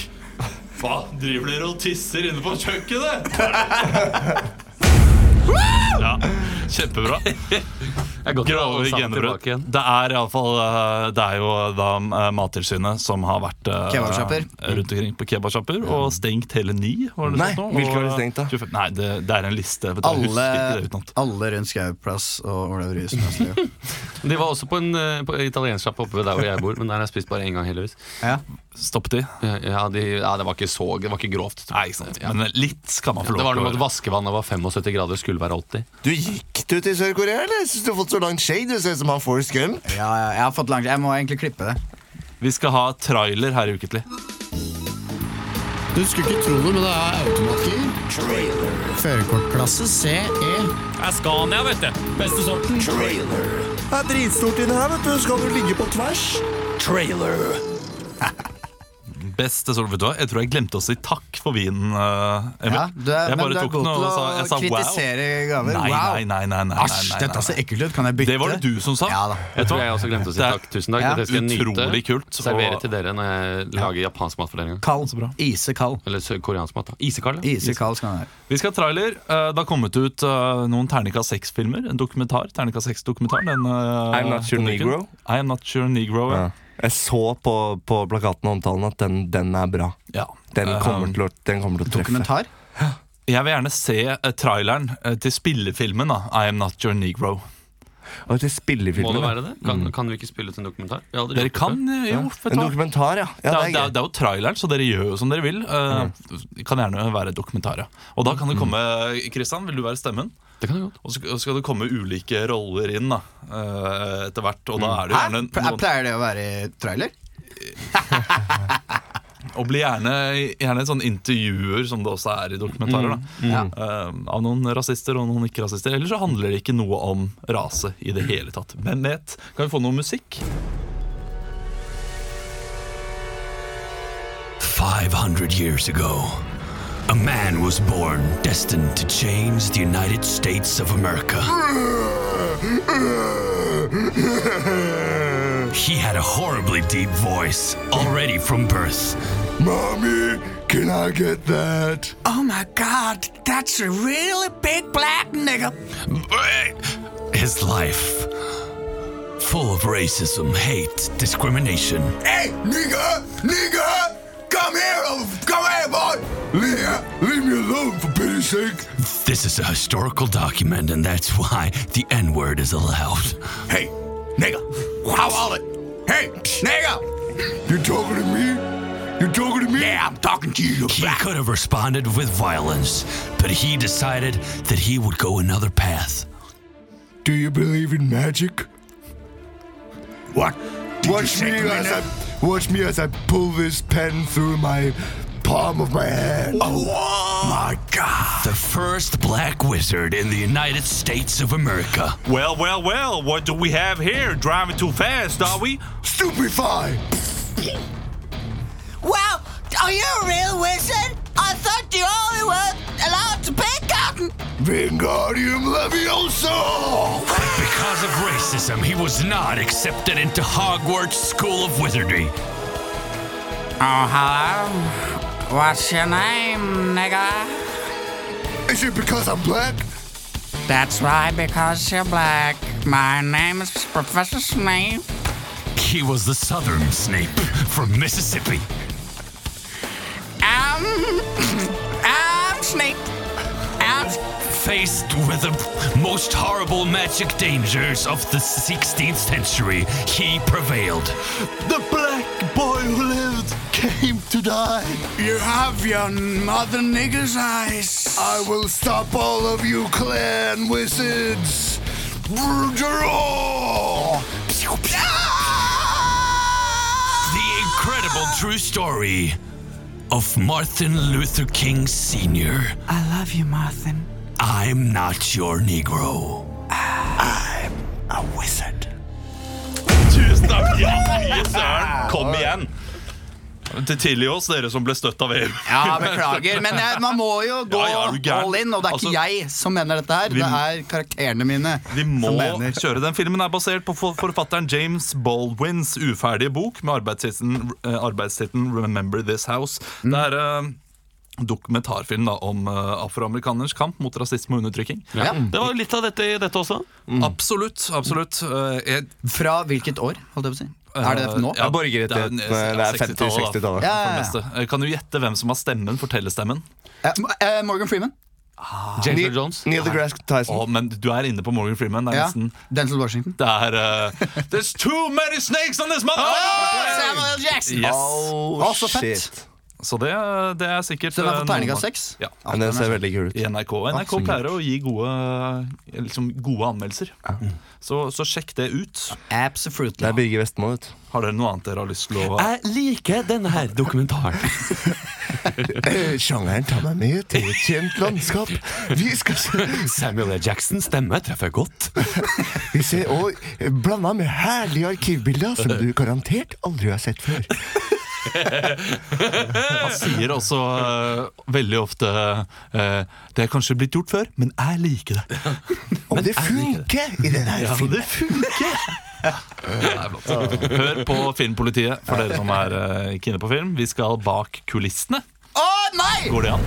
Speaker 1: Hva driver dere og tisser inne på kjøkkenet? Ja, kjempebra.
Speaker 2: Det er godt å ha
Speaker 1: Grove
Speaker 2: alle sammen tilbake
Speaker 1: hygienebrudd.
Speaker 2: igjen.
Speaker 1: Det er iallfall Det er jo da eh, Mattilsynet som har vært eh,
Speaker 3: Kebabsjapper.
Speaker 1: rundt omkring på kebabsjapper og
Speaker 2: Mm.
Speaker 1: stengt hele ni. Var det
Speaker 4: Nei,
Speaker 1: sånn nå?
Speaker 4: hvilke var
Speaker 1: Og-
Speaker 4: det stengt, da?
Speaker 1: 25 Nei, det, det er en liste. Vet du, jeg husker ikke
Speaker 3: Alle,
Speaker 1: det utenat.
Speaker 3: alle rundt Skauplass og Olav Rues Nøsli.
Speaker 2: De var også på en, eh, på en italiensk sjappe oppe ved der hvor jeg bor, men der har jeg spist bare én gang, heldigvis. Eh,
Speaker 3: Ja.
Speaker 1: Stopp de.
Speaker 2: Ja, de, ja, det var ikke så Det var ikke grovt.
Speaker 1: Nei, ikke sant. Men litt skal man få
Speaker 2: Det
Speaker 1: lov
Speaker 2: var noe med at
Speaker 1: til. å gjøre.
Speaker 2: vaskevannet var 75 grader, skulle være 80.
Speaker 4: Du gikk du til Sør-Korea, eller? Jeg synes du har fått så langt shade. Du ser ut som han Forrest Gump.
Speaker 3: Ja, ja, jeg har fått langt Jeg må egentlig klippe det.
Speaker 1: Vi skal ha trailer her i Uketlig.
Speaker 5: Du skulle ikke tro det, men det er automatgir. Førerkortklasse CE.
Speaker 4: Det er dritstort inne her, vet du. Skal du ligge på tvers?
Speaker 1: beste sol. Vet du hva, jeg tror jeg glemte å si takk for vinen, eh, Emil.
Speaker 3: Ja, du er,
Speaker 1: jeg
Speaker 3: men du
Speaker 1: bare
Speaker 3: er
Speaker 1: tok
Speaker 3: god
Speaker 1: den og
Speaker 3: til
Speaker 1: sa, jeg sa
Speaker 3: å
Speaker 1: wow.
Speaker 3: kritisere gaver.
Speaker 1: Nei,
Speaker 3: wow.
Speaker 1: nei, nei, nei, nei, nei,
Speaker 3: Asj,
Speaker 1: nei,
Speaker 3: dette
Speaker 1: nei.
Speaker 3: ser ekkelt ut. Kan jeg bytte?
Speaker 1: Det var det du som sa.
Speaker 3: Ja da.
Speaker 2: Jeg tror jeg også glemte å si
Speaker 1: Det er
Speaker 2: takk. Tusen takk.
Speaker 3: ja,
Speaker 2: Dette skal jeg
Speaker 1: utrolig
Speaker 2: nyte.
Speaker 1: kult, og-
Speaker 2: Servere til dere når jeg lager japansk mat for dere. en gang.
Speaker 3: Kald. Isekald.
Speaker 2: Eller sø- koreansk mat. da Isekald. ja.
Speaker 3: Isekald skal den være.
Speaker 1: Vi skal ha trailer. Eh, Det har kommet ut eh, noen Terningkast 6-filmer. En dokumentar. Terningkast 6-dokumentar. Den, eh,
Speaker 4: I'm Not Your
Speaker 1: denne uken.
Speaker 4: Negro.
Speaker 1: I am not your negro. Ja.
Speaker 4: Ja. Jeg så på, på plakaten og omtalen at den, den er bra.
Speaker 1: Ja.
Speaker 4: Den
Speaker 1: Eh,
Speaker 4: kommer til å, den kommer til å treffe.
Speaker 3: Dokumentar?
Speaker 1: Jeg vil gjerne se eh, traileren eh, til spillefilmen da. I am not your negro.
Speaker 2: Må
Speaker 4: Og til
Speaker 2: det
Speaker 4: spillefilmen.
Speaker 2: være det? Kan, kan vi ikke spille ut en dokumentar? Vi har aldri
Speaker 1: Mm. Dere
Speaker 2: gjort det
Speaker 1: kan
Speaker 2: før.
Speaker 1: eh, jo, vet du
Speaker 4: En
Speaker 1: hva.
Speaker 4: dokumentar, ja.
Speaker 1: Det
Speaker 4: ja
Speaker 1: er,
Speaker 4: det
Speaker 1: det,
Speaker 4: er
Speaker 1: er, det er jo traileren, så dere gjør jo som dere vil. Eh, Kan gjerne være dokumentarer. Og da kan det komme Kristian, vil du være stemmen?
Speaker 2: Det kan jeg godt.
Speaker 1: Og så og så skal det komme ulike roller inn da eh, etter hvert. Og da er det jo
Speaker 3: Hæ?
Speaker 1: gjerne
Speaker 3: Ple-
Speaker 1: noen,
Speaker 3: Pleier det å være i trailer?
Speaker 1: Og blir gjerne, gjerne sånn intervjuer, som det også er i dokumentarer. da
Speaker 3: Ja.
Speaker 1: Eh, Av noen rasister og noen ikke-rasister. Ellers så handler det ikke noe om rase i det hele tatt. Hvem vet? Kan vi få noe musikk?
Speaker 6: 500 years ago, a man was born destined to change the United States of America. He had a horribly deep voice already from birth.
Speaker 3: Oh my god, that's a really big black nigga!
Speaker 6: His life full of racism, hate, discrimination. This is a historical document, and that's why the N word is allowed.
Speaker 7: Hey, nigga, how all it? Hey, nigga, you talking to me? You talking to me? Yeah, I'm talking to you.
Speaker 6: He could have responded with violence, but he decided that he would go another path.
Speaker 7: Do you believe in magic? What? watch me as I watch me as I pull this pen through my palm of my hand. Oh my God!
Speaker 6: The first black wizard in the United States of America.
Speaker 1: Well, well, well, what do we have here? Driving too fast, are we?
Speaker 7: Stupefy!
Speaker 8: Wow, are you a real wizard? I thought you only were allowed to pick cotton.
Speaker 7: Wingardium Leviosa!
Speaker 6: Because of racism, he was not accepted into Hogwarts School of Wizardry.
Speaker 8: Oh, hello. What's your name, nigga?
Speaker 7: Is it because I'm black?
Speaker 8: That's right, because you're black. My name is Professor Snape.
Speaker 6: He was the Southern Snape from Mississippi.
Speaker 8: Um, I'm Snape. I'm
Speaker 6: Faced with the most horrible magic dangers of the 16th century, he prevailed.
Speaker 7: The black boy who lived came to die.
Speaker 5: You have your mother nigger's eyes.
Speaker 7: I will stop all of you clan wizards! Draw!
Speaker 6: The incredible true story of Martin Luther King Sr.
Speaker 8: I love you, Martin.
Speaker 6: I'm not your Negro.
Speaker 1: Tusen takk! Ja, fy søren! Kom igjen! Til Tilgi oss, dere som ble støtt av EU.
Speaker 3: Ja, beklager, men jeg, man må jo gå
Speaker 1: Ja, ja, er du gæren?
Speaker 3: all in, og det er
Speaker 1: Altså,
Speaker 3: ikke jeg som mener dette her,
Speaker 1: vi-
Speaker 3: det er karakterene mine
Speaker 1: Vi må
Speaker 3: som mener.
Speaker 1: kjøre den filmen er basert på for- forfatteren James Baldwins uferdige bok med arbeidstittelen eh, arbeidstittelen 'Remember This House'.
Speaker 3: Mm.
Speaker 1: Det er eh, dokumentarfilm da, om eh, afroamerikaners kamp mot rasisme og undertrykking.
Speaker 3: Ja.
Speaker 2: Det var litt av dette i dette også.
Speaker 3: Mm.
Speaker 1: Absolutt. absolutt Eh, jeg,
Speaker 3: Fra hvilket år, holdt jeg på å si? Er det nå?
Speaker 1: Eh, Ja,
Speaker 4: borgerrettighetene,
Speaker 1: det er-
Speaker 4: det er 50-,
Speaker 1: 60-tallet, da,
Speaker 4: 60-tallet.
Speaker 3: Ja, ja,
Speaker 1: for
Speaker 3: ja.
Speaker 1: det meste. Eh, Kan du gjette hvem som har stemmen? Fortellerstemmen?
Speaker 3: Eh, Mo- eh, Morgan Freeman.
Speaker 2: James Earl Jones.
Speaker 4: Neil deGrasse Tyson.
Speaker 1: Å, men du er inne på Morgan Freeman. Det er
Speaker 3: Ja.
Speaker 1: nesten
Speaker 3: Denzel Washington.
Speaker 1: Det er eh, There's too many snakes on
Speaker 3: Ah!
Speaker 1: this motherfucker!
Speaker 3: Samuel L. Jackson!
Speaker 1: Yes.
Speaker 4: Oh,
Speaker 3: så fett.
Speaker 1: Så det, det er sikkert
Speaker 3: Så den er
Speaker 1: eh,
Speaker 3: på terningkast
Speaker 1: noen-
Speaker 3: seks?
Speaker 1: Ja.
Speaker 4: Ja, den ser veldig kul ut.
Speaker 1: I NRK. NRK pleier å gi gode, liksom gode anmeldelser.
Speaker 3: Mm.
Speaker 1: Så, så sjekk det ut.
Speaker 4: Det
Speaker 3: Absolutely.
Speaker 4: er Birger Vestmo, vet du.
Speaker 1: Har dere noe annet dere har lyst til å
Speaker 2: Jeg liker denne her dokumentaren.
Speaker 7: Eh, Sjangeren tar meg med til et kjent landskap. Vi skal se
Speaker 2: Samuel L. Jackson stemme treffer godt.
Speaker 7: Vi ser òg blanda med herlige arkivbilder som du garantert aldri har sett før.
Speaker 1: Han sier også eh, veldig ofte eh, Det er kanskje blitt gjort før, men jeg liker det.
Speaker 8: Og det funker i den her filmen.
Speaker 1: det funker! Hør på Filmpolitiet, for dere som er eh, ikke inne på film. Vi skal bak kulissene.
Speaker 9: Å nei!
Speaker 1: Går det an?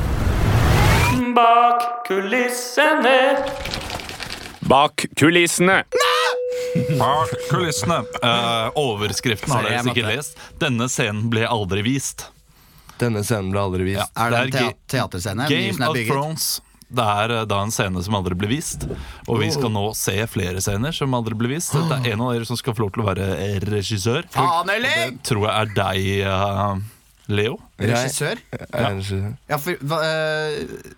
Speaker 10: Bak kulissene.
Speaker 6: Bak kulissene.
Speaker 1: Bak kulissene. Eh, overskriften har dere
Speaker 3: Se, jeg
Speaker 1: sikkert
Speaker 3: måtte.
Speaker 1: lest. Denne scenen ble aldri vist.
Speaker 9: Denne scenen ble aldri vist.
Speaker 3: Er det en
Speaker 1: Det er
Speaker 3: tea- teaterscene? den nye
Speaker 1: Game
Speaker 3: som er
Speaker 1: of
Speaker 3: bygget?
Speaker 1: Thrones. Det er eh, da en scene som aldri ble vist, og vi
Speaker 2: Oh.
Speaker 1: skal nå se flere scener som aldri ble vist. Dette er en av dere som skal få lov til å være eh, regissør.
Speaker 3: Anelig!
Speaker 1: Tror jeg er deg, eh, Leo.
Speaker 3: Regissør?
Speaker 9: Ja.
Speaker 3: Ja, for hva, eh,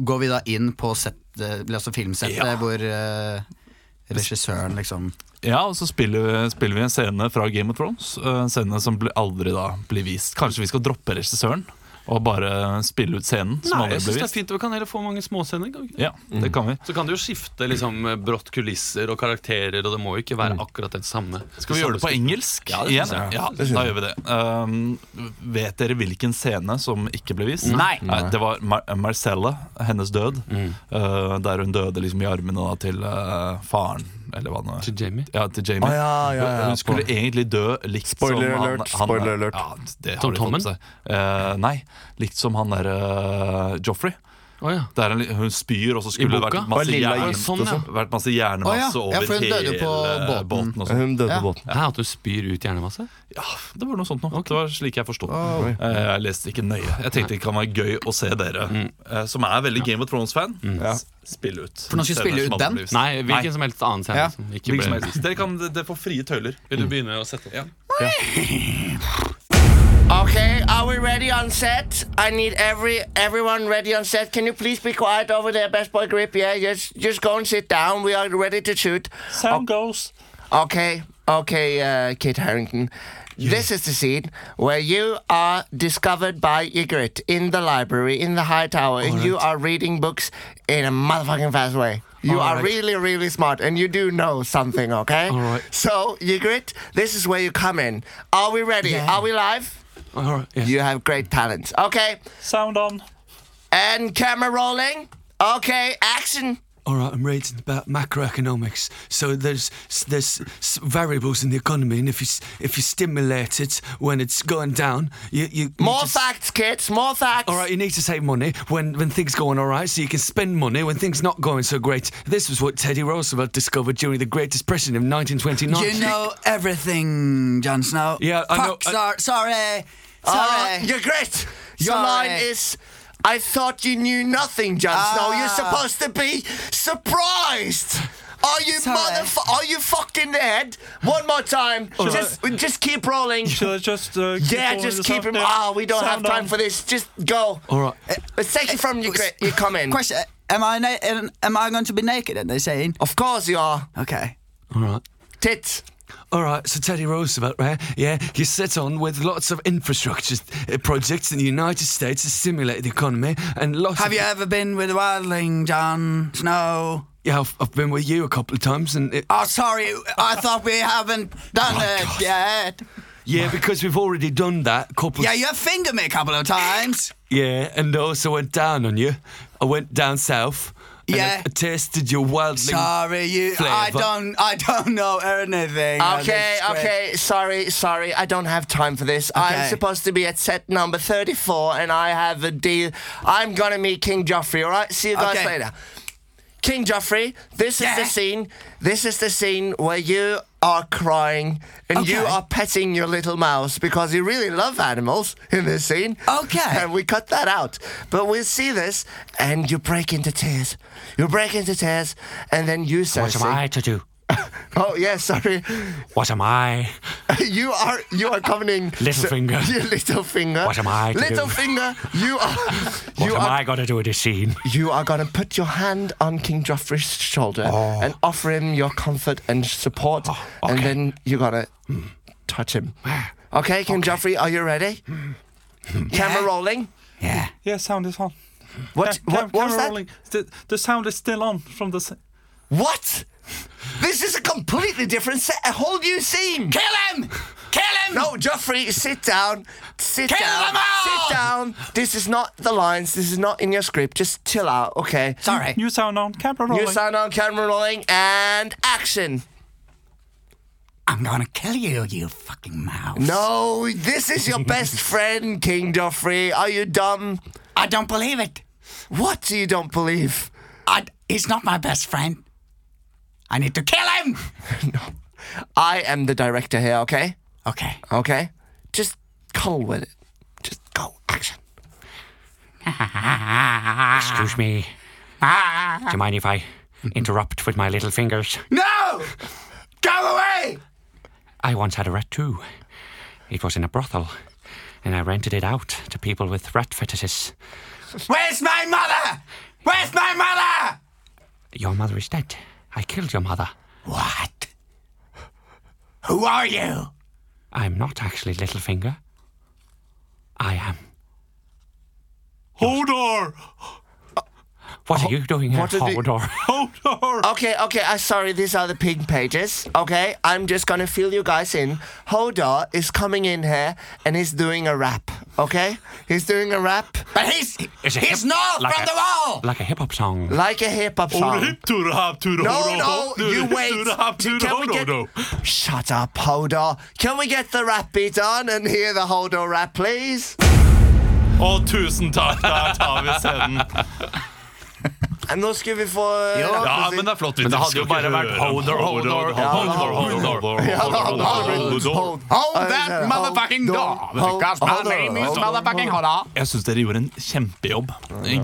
Speaker 3: Går vi da inn på set, eh, altså filmsettet
Speaker 1: Ja.
Speaker 3: hvor eh, regissøren liksom
Speaker 1: Ja, og så spiller vi, spiller vi en scene fra Game of Thrones. eh, En scene som ble, aldri da blir vist. Kanskje vi skal droppe regissøren og bare spille ut scenen som
Speaker 2: Nei, jeg
Speaker 1: aldri
Speaker 2: synes
Speaker 1: ble
Speaker 2: det er
Speaker 1: vist.
Speaker 2: fint. Vi kan heller få mange småscener. kan vi ikke?
Speaker 1: Ja, det kan vi.
Speaker 2: Så kan du jo skifte liksom, brått kulisser og karakterer, og det må jo ikke
Speaker 6: Mm.
Speaker 2: være akkurat det samme.
Speaker 1: Skal vi gjøre det på engelsk?
Speaker 2: Ja, det
Speaker 1: igjen?
Speaker 2: synes jeg.
Speaker 1: ja da gjør vi det. Um, vet dere hvilken scene som ikke ble vist?
Speaker 3: Nei.
Speaker 1: det var Mar eh, Marcella, hennes død.
Speaker 2: Mm.
Speaker 1: Uh, der hun døde liksom i armene da, til uh, faren, eller hva det
Speaker 2: Til Jamie.
Speaker 1: Ja, til Jamie.
Speaker 8: Å, ja, ja, ja,
Speaker 1: hun skulle egentlig dø likt
Speaker 8: Spoiler
Speaker 1: som
Speaker 8: alert, spoiler alert.
Speaker 1: Ja, det har
Speaker 2: Tom
Speaker 1: du fått med
Speaker 2: Tommen?
Speaker 1: seg. Eh, nei, likt som han derre uh, Joffrey.
Speaker 2: Å ja.
Speaker 1: Det er en, li- hun spyr, og så skulle det
Speaker 2: boka?
Speaker 1: vært masse,
Speaker 8: Bare lilla
Speaker 1: hjerne,
Speaker 8: gift
Speaker 2: og sånn, ja.
Speaker 1: vært masse hjernemasse
Speaker 3: Å ja, ja,
Speaker 1: over
Speaker 3: for hun døde
Speaker 1: hele
Speaker 3: jo på båten.
Speaker 1: båten. og sånn.
Speaker 8: Hun døde
Speaker 3: Ja.
Speaker 8: på båten.
Speaker 2: Hæ, At du spyr ut hjernemasse?
Speaker 1: Ja, det var noe sånt nå. Det var slik jeg forstod det. Eh, Jeg leste ikke nøye. Jeg tenkte det kan være gøy å se dere, eh, som er veldig Game of Thrones-fan, s- spille ut.
Speaker 3: For nå skal vi spille
Speaker 1: Scener som
Speaker 3: ut
Speaker 1: aldri
Speaker 3: den?
Speaker 1: blir vist.
Speaker 2: Nei, hvilken som helst annen scene.
Speaker 3: Ja,
Speaker 2: Som ikke
Speaker 1: Hvilken som
Speaker 2: ble...
Speaker 1: helst. Dere, kan, dere får frie tøyler.
Speaker 2: Vil du begynne å sette opp?
Speaker 4: Okay, are we ready on set? I need every everyone ready on set. Can you please be quiet over there, best boy grip? Yeah, just just go and sit down. We are ready to shoot.
Speaker 1: Sound goes.
Speaker 4: Okay, okay, uh, Kit Harrington. This is the scene where you are discovered by Ygritte in the library in the high tower, and you are reading books in a motherfucking fast way. You are really, really smart, and you do know something. Okay. All
Speaker 2: right.
Speaker 4: So, Ygritte, this is where you come in. Are we ready? Are we live? You have great talents. Okay.
Speaker 1: Sound on.
Speaker 4: And camera rolling. Okay. Action.
Speaker 6: All right, I'm reading about macroeconomics. So there's there's s- variables in the economy, and if you s- if you stimulate it when it's going down, you you you
Speaker 4: More
Speaker 6: just-
Speaker 4: facts, kids. More facts.
Speaker 6: All right, you need to save money when when things going all right, so you can spend money when things not going so great. This was what Teddy Roosevelt discovered during the Great Depression of 1929.
Speaker 3: You know everything, Jon Snow.
Speaker 6: Yeah, I know-
Speaker 3: Fuck, sor- sorry.
Speaker 4: Oh,
Speaker 3: Sorry.
Speaker 4: you're great. Your
Speaker 3: Sorry.
Speaker 4: line is, I thought you knew nothing, Jon Snow. You're
Speaker 3: Ah.
Speaker 4: supposed to be surprised. Are you
Speaker 3: Sorry.
Speaker 4: motherf- Are you fucked in the head? One more time. Just, just keep rolling.
Speaker 1: just uh,
Speaker 4: Yeah, just keep him. Ah, we don't have time for this. Just go. Uh,
Speaker 6: all right.
Speaker 4: Let's take it from your, gra- your comment.
Speaker 3: Question, am I, na- am I going to be naked in this scene?
Speaker 4: Of course you are.
Speaker 3: Okay.
Speaker 6: All right.
Speaker 4: Tits.
Speaker 6: All right, so Teddy Roosevelt, right? Yeah, he set on with lots of infrastructure uh, projects in the United States to stimulate the economy and lots.
Speaker 3: Have
Speaker 6: of,
Speaker 3: you ever been with a wildling, Jon Snow?
Speaker 6: Yeah, I've, I've been with you a couple of times, and eh, it,
Speaker 3: Oh, sorry. I thought we haven't done it yet.
Speaker 6: yeah, because we've already done that. a Couple.
Speaker 3: Yeah, you fingered me a couple of times.
Speaker 6: Yeah, and I also went down on you. I went down south. and I-
Speaker 3: Yeah.
Speaker 6: I tasted Eh, your wildling.
Speaker 3: Sorry, you. I
Speaker 6: Flavour.
Speaker 3: don't. I don't know anything. of
Speaker 4: Okay,
Speaker 3: this script.
Speaker 4: okay, Uh, sorry, sorry, I don't have time for this. I'm
Speaker 3: Okay.
Speaker 4: supposed to be at set number 34 and I have a deal. I'm gonna meet King Joffrey, alright? See you guys
Speaker 3: Okay.
Speaker 4: later. King Joffrey, this is
Speaker 3: Yeah.
Speaker 4: the scene. This is the scene where you are crying and you
Speaker 3: Okay.
Speaker 4: are petting your little mouse because you really love animals in this scene.
Speaker 3: Okay.
Speaker 4: And we cut that out. But we'll see this and you break into tears. You break into tears and then you say,
Speaker 6: to do?
Speaker 4: Oh, yeah, sorry.
Speaker 6: What am I?
Speaker 4: You are you are coming
Speaker 6: Little finger.
Speaker 4: You little finger.
Speaker 6: What am I to
Speaker 4: Little
Speaker 6: do?
Speaker 4: finger. You are. you are.
Speaker 6: going to do with this scene?
Speaker 4: You are going to put your hand on King Joffrey's shoulder and offer him your comfort and support, and then you're gonna touch him. Okay, King Joffrey, are you ready? Camera rolling.
Speaker 3: Yeah.
Speaker 1: Yeah, sound is on.
Speaker 4: What? what? What was that?
Speaker 1: The, sound is still on from the
Speaker 4: What? This is a completely different set. A whole new scene. Kill him! Kill
Speaker 6: them!
Speaker 4: No, Joffrey, sit down. Sit
Speaker 6: Kill
Speaker 4: down.
Speaker 6: them all!
Speaker 4: Sit down. This is not the lines. This is not in your script. Just chill out, okay? Sorry.
Speaker 1: New sound on camera rolling.
Speaker 4: New sound on camera rolling and action.
Speaker 3: I'm gonna kill you, you fucking mouse.
Speaker 4: No, this is your best friend, King Joffrey. Are you dumb?
Speaker 3: I don't believe it.
Speaker 4: What do you don't believe?
Speaker 3: I, he's not my best friend. I need to kill him.
Speaker 4: I am the director here, okay?
Speaker 3: Okay.
Speaker 4: Okay? Just cuddle with it. Just go. Action.
Speaker 10: Excuse me. Ah. Do you mind if I interrupt with my little fingers?
Speaker 11: No! Go away!
Speaker 10: I once had a rat too. It was in a brothel, and I rented it out to people with rat fetishes.
Speaker 11: Where's my mother? Where's my mother?
Speaker 10: Your mother is dead. I killed your mother.
Speaker 3: What? Who are you?
Speaker 10: I'm not actually Littlefinger. I am.
Speaker 1: Hodor!
Speaker 10: What are you doing here,
Speaker 4: what did he-
Speaker 10: Hodor?
Speaker 1: Hodor!
Speaker 4: Okay, okay, I'm sorry, these are the pink pages, okay? I'm just gonna fill you guys in. Hodor is coming in here and he's doing a rap, okay? He's doing a rap
Speaker 3: But he's
Speaker 10: Is it
Speaker 3: he's
Speaker 10: him?
Speaker 3: not
Speaker 10: Like
Speaker 3: from
Speaker 10: a-
Speaker 3: the wall.
Speaker 10: Like a hip hop song.
Speaker 4: like a hip hop
Speaker 1: Oh,
Speaker 4: song.
Speaker 1: hip to the hop to the
Speaker 4: No,
Speaker 1: Hodor,
Speaker 4: no,
Speaker 1: Hodor,
Speaker 4: you
Speaker 1: hip to
Speaker 4: wait.
Speaker 1: the hop to the
Speaker 4: Can we
Speaker 1: Hodor,
Speaker 4: get-
Speaker 1: no.
Speaker 4: Shut up, Hodor. Can we get the rap beat on and hear the Hodor rap, please?
Speaker 1: Å, tusen takk. Der tar vi scenen.
Speaker 4: And nå skal vi få uh,
Speaker 1: Ja, men det er flott.
Speaker 6: Men det hadde jo bare vært Hodor, Hodor, Hodor, Hodor.
Speaker 3: Hold that motherfucking door. Because my name is motherfucking Hodor.
Speaker 1: Jeg syns dere gjorde en kjempejobb.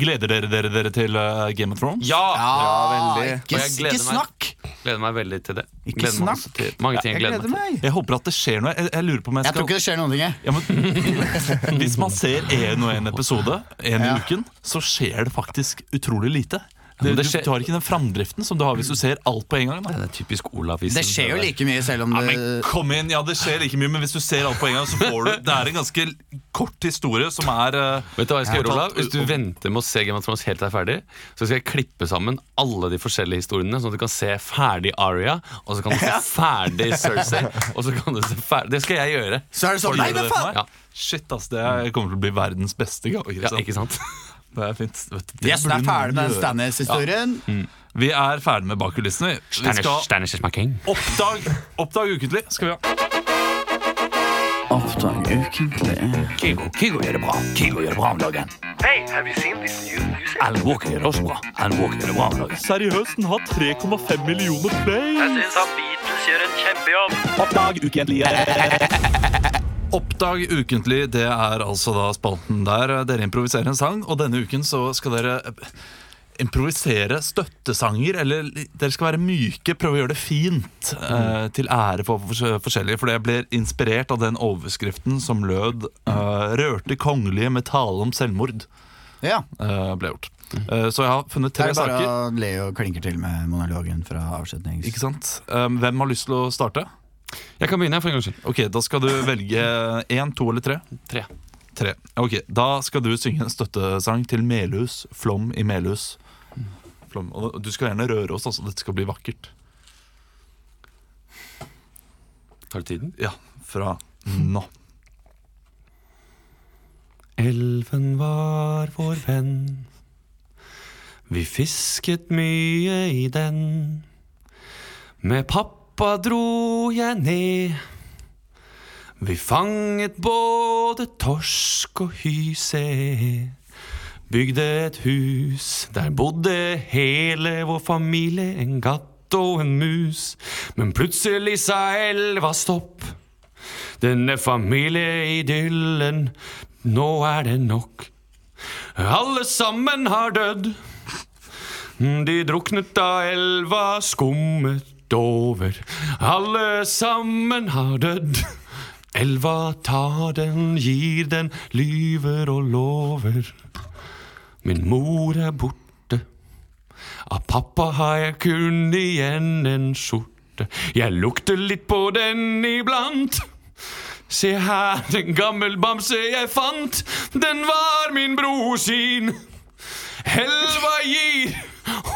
Speaker 1: Gleder dere dere, dere til eh, Game of Thrones?
Speaker 6: Ja!
Speaker 2: Ikke,
Speaker 6: Og jeg gleder
Speaker 2: ikke
Speaker 6: meg.
Speaker 2: snakk!
Speaker 6: Gleder meg veldig til det.
Speaker 2: Ikke
Speaker 6: Gleder meg også
Speaker 2: snakk.
Speaker 6: til mange ting jeg gleder meg til.
Speaker 2: meg.
Speaker 1: Jeg håper at det skjer noe. Jeg, jeg lurer på om jeg
Speaker 3: Jeg tror
Speaker 1: skal
Speaker 3: ikke det skjer noen ting. jeg.
Speaker 1: ja, men, Hvis man ser én og én episode én i uken, så skjer det faktisk utrolig lite. Det,
Speaker 6: men
Speaker 1: du,
Speaker 6: det skjer-
Speaker 1: du har ikke den framdriften som du har hvis du ser alt på en gang. Da.
Speaker 6: Det er typisk Olavisen.
Speaker 2: Det skjer jo like mye selv om
Speaker 1: Ja,
Speaker 2: det
Speaker 1: men kom inn, ja Det skjer ikke mye, men hvis du ser alt på en gang, så får du Det er en ganske kort historie som er eh,
Speaker 6: Vet du hva jeg
Speaker 1: Ja.
Speaker 6: skal gjøre, Olav? Hvis du
Speaker 1: Og-
Speaker 6: venter med å se Game of Thrones helt til det er ferdig, så skal jeg klippe sammen alle de forskjellige historiene, sånn at du kan se ferdig Aria, og så kan du se ferdig Cersei, og så kan du se ferdig Det skal jeg gjøre.
Speaker 2: Så er det sånn
Speaker 1: Gjør
Speaker 2: Nei,
Speaker 1: du
Speaker 2: men
Speaker 1: det for
Speaker 2: faen!
Speaker 1: meg? Shit, ass, det er- kommer til å bli verdens beste gave.
Speaker 6: Ja, ikke sant?
Speaker 1: Det er fint. Vet du, det
Speaker 2: Vi er
Speaker 1: burde
Speaker 2: snart
Speaker 1: noen
Speaker 2: ferdig med den
Speaker 1: gjøre. Mm.
Speaker 2: Stannis-historien.
Speaker 1: Vi er ferdig med bak kulissene. vi. Vi
Speaker 10: Stannis,
Speaker 1: skal
Speaker 10: Stannis is my king.
Speaker 1: oppdag, oppdag ukentlig. Skal vi ha
Speaker 10: Kigo, Kigo gjør det bra. Kigo gjør det bra om dagen. Alan Walker gjør det også bra. Alan Walker gjør det bra om dagen.
Speaker 1: Seriøst, den har 3,5 millioner play.
Speaker 12: Syns at Beatles gjør en kjempejobb.
Speaker 1: Oppdag ukentlig. Oppdag ukentlig, det er altså da spalten der dere improviserer en sang, og denne uken så skal dere eh, improvisere støttesanger, eller li- dere skal være myke, prøve å gjøre det fint, eh, til ære for fors- forskjellige, for jeg blir inspirert av den overskriften som lød eh, 'Rørte kongelige med tale om selvmord',
Speaker 2: Ja.
Speaker 1: eh, ble gjort. Eh, så jeg har funnet
Speaker 2: Det
Speaker 1: tre
Speaker 2: er bare
Speaker 1: saker.
Speaker 2: å le og klinker til med monologen fra avslutnings...
Speaker 1: Ikke sant? Um, hvem har lyst til å starte?
Speaker 6: Jeg kan begynne, jeg, for en gangs skyld.
Speaker 1: Ok, Da skal du velge én, to eller tre.
Speaker 6: Tre.
Speaker 1: Tre. Ok, Da skal du synge en støttesang til Melhus. Flom i Melhus. Flom. Og du skal gjerne røre oss, altså. Dette skal bli vakkert.
Speaker 6: Tar det tiden?
Speaker 1: Ja, fra nå.
Speaker 6: Elven var vår venn. Vi fisket mye i den. Med pappa dro jeg ned. Vi fanget både torsk og hyse. Bygde et hus, der bodde hele vår familie. En katt og en mus. Men plutselig sa elva stopp. Denne familieidyllen, nå er det nok. Alle sammen har dødd. De druknet da elva skummet over. Alle sammen har dødd. Elva tar den, gir den, lyver og lover. Min mor er borte. Av pappa har jeg kun igjen en skjorte. Jeg lukter litt på den iblant. Se her, en gammel bamse jeg fant. Den var min bror sin. Elva gir,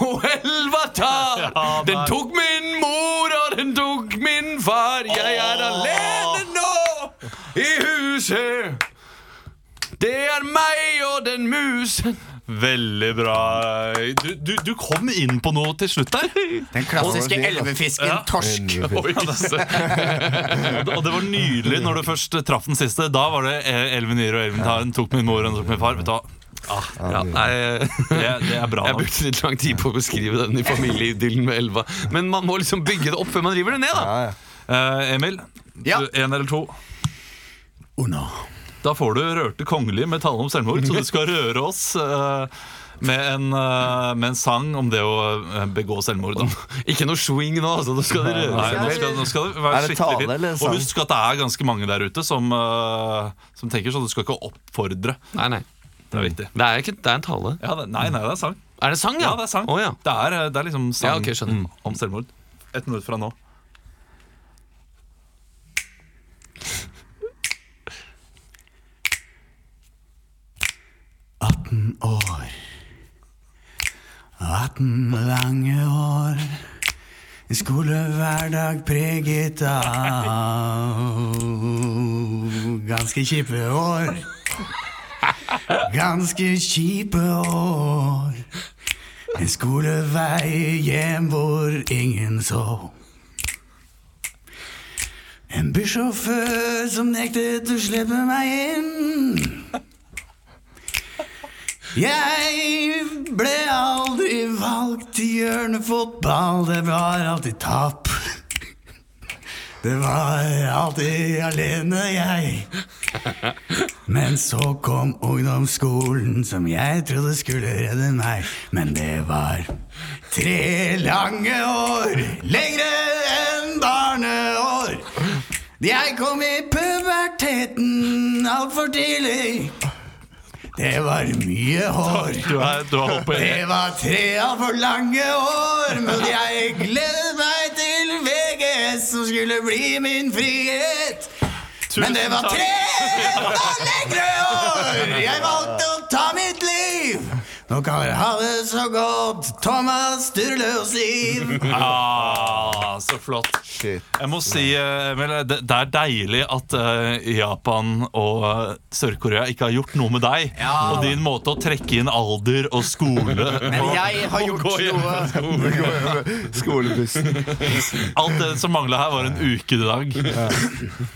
Speaker 6: og elva tar. Den tok min mor, og den tok min far. Jeg er alene nå.
Speaker 13: huset. Det er meg og den musen.
Speaker 1: Veldig bra. Du, du, du kom inn på noe til slutt der. Den
Speaker 8: klassiske elvefisken, torsk.
Speaker 1: og det var nydelig når du først traff den siste. Da var det eh, Elven Yr og Elven Taren tok min mor og tok min far. Vet du hva? Ah, ja, nei, det, det er bra.
Speaker 2: eh, Jeg brukte litt lang tid på å beskrive den i familieidyllen med elva. Men man må liksom bygge det opp før man river det ned,
Speaker 4: Ah,
Speaker 2: da.
Speaker 1: Eh, Emil, én eller to?
Speaker 8: Uno.
Speaker 1: Da får du Rørte kongelige med tale om selvmord, så du skal røre oss eh, med, en, eh, med en sang om det å eh, begå selvmord. Da.
Speaker 2: Ikke noe swing nå, altså. Nå skal det
Speaker 1: Nei,
Speaker 2: røre seg.
Speaker 1: nå skal, nå skal det være
Speaker 2: Er det tale
Speaker 1: skikkelig
Speaker 2: eller
Speaker 1: fint.
Speaker 2: sang?
Speaker 1: Og husk at det er ganske mange der ute som, eh, som tenker sånn. Du skal ikke oppfordre.
Speaker 2: Nei, nei.
Speaker 1: Det er viktig.
Speaker 2: Det er, ikke, det er en tale.
Speaker 1: Ja, det, nei, nei, det er sang.
Speaker 2: Er det sang,
Speaker 1: Mm. ja? det er sang. det, er, eh, det er liksom sang mm, om selvmord. Ett minutt fra nå.
Speaker 3: år. 18 lange år. En skolehverdag preget av ganske kjipe år. Ganske kjipe år. En skolevei hjem hvor ingen så. En bussjåfør som nektet å slippe meg inn. Jeg ble aldri valgt til hjørnefotball. Det var alltid tap. Det var alltid alene, jeg. Men så kom ungdomsskolen, som jeg trodde skulle redde meg. Men det var tre lange år, lengre enn barneår. Jeg kom i puberteten altfor tidlig. Det var mye hår.
Speaker 1: Du er, du er oppe.
Speaker 3: Det var tre altfor lange år, men jeg gledet meg til VGS, som skulle bli min frihet. Men det var tre enda lengre år! Jeg valgte å ta mitt liv. Nå kan dere ha det så godt, Thomas Sturløs liv.
Speaker 1: Ah, så flott. Jeg må si, eh, Emil, det, det er deilig at eh, Japan og eh, Sør-Korea ikke har gjort noe med deg.
Speaker 8: Ja.
Speaker 1: Og din måte å trekke inn alder og skole
Speaker 8: Men jeg har gjort noe.
Speaker 1: Skolebussen. Alt det som mangla her, var en uke i dag.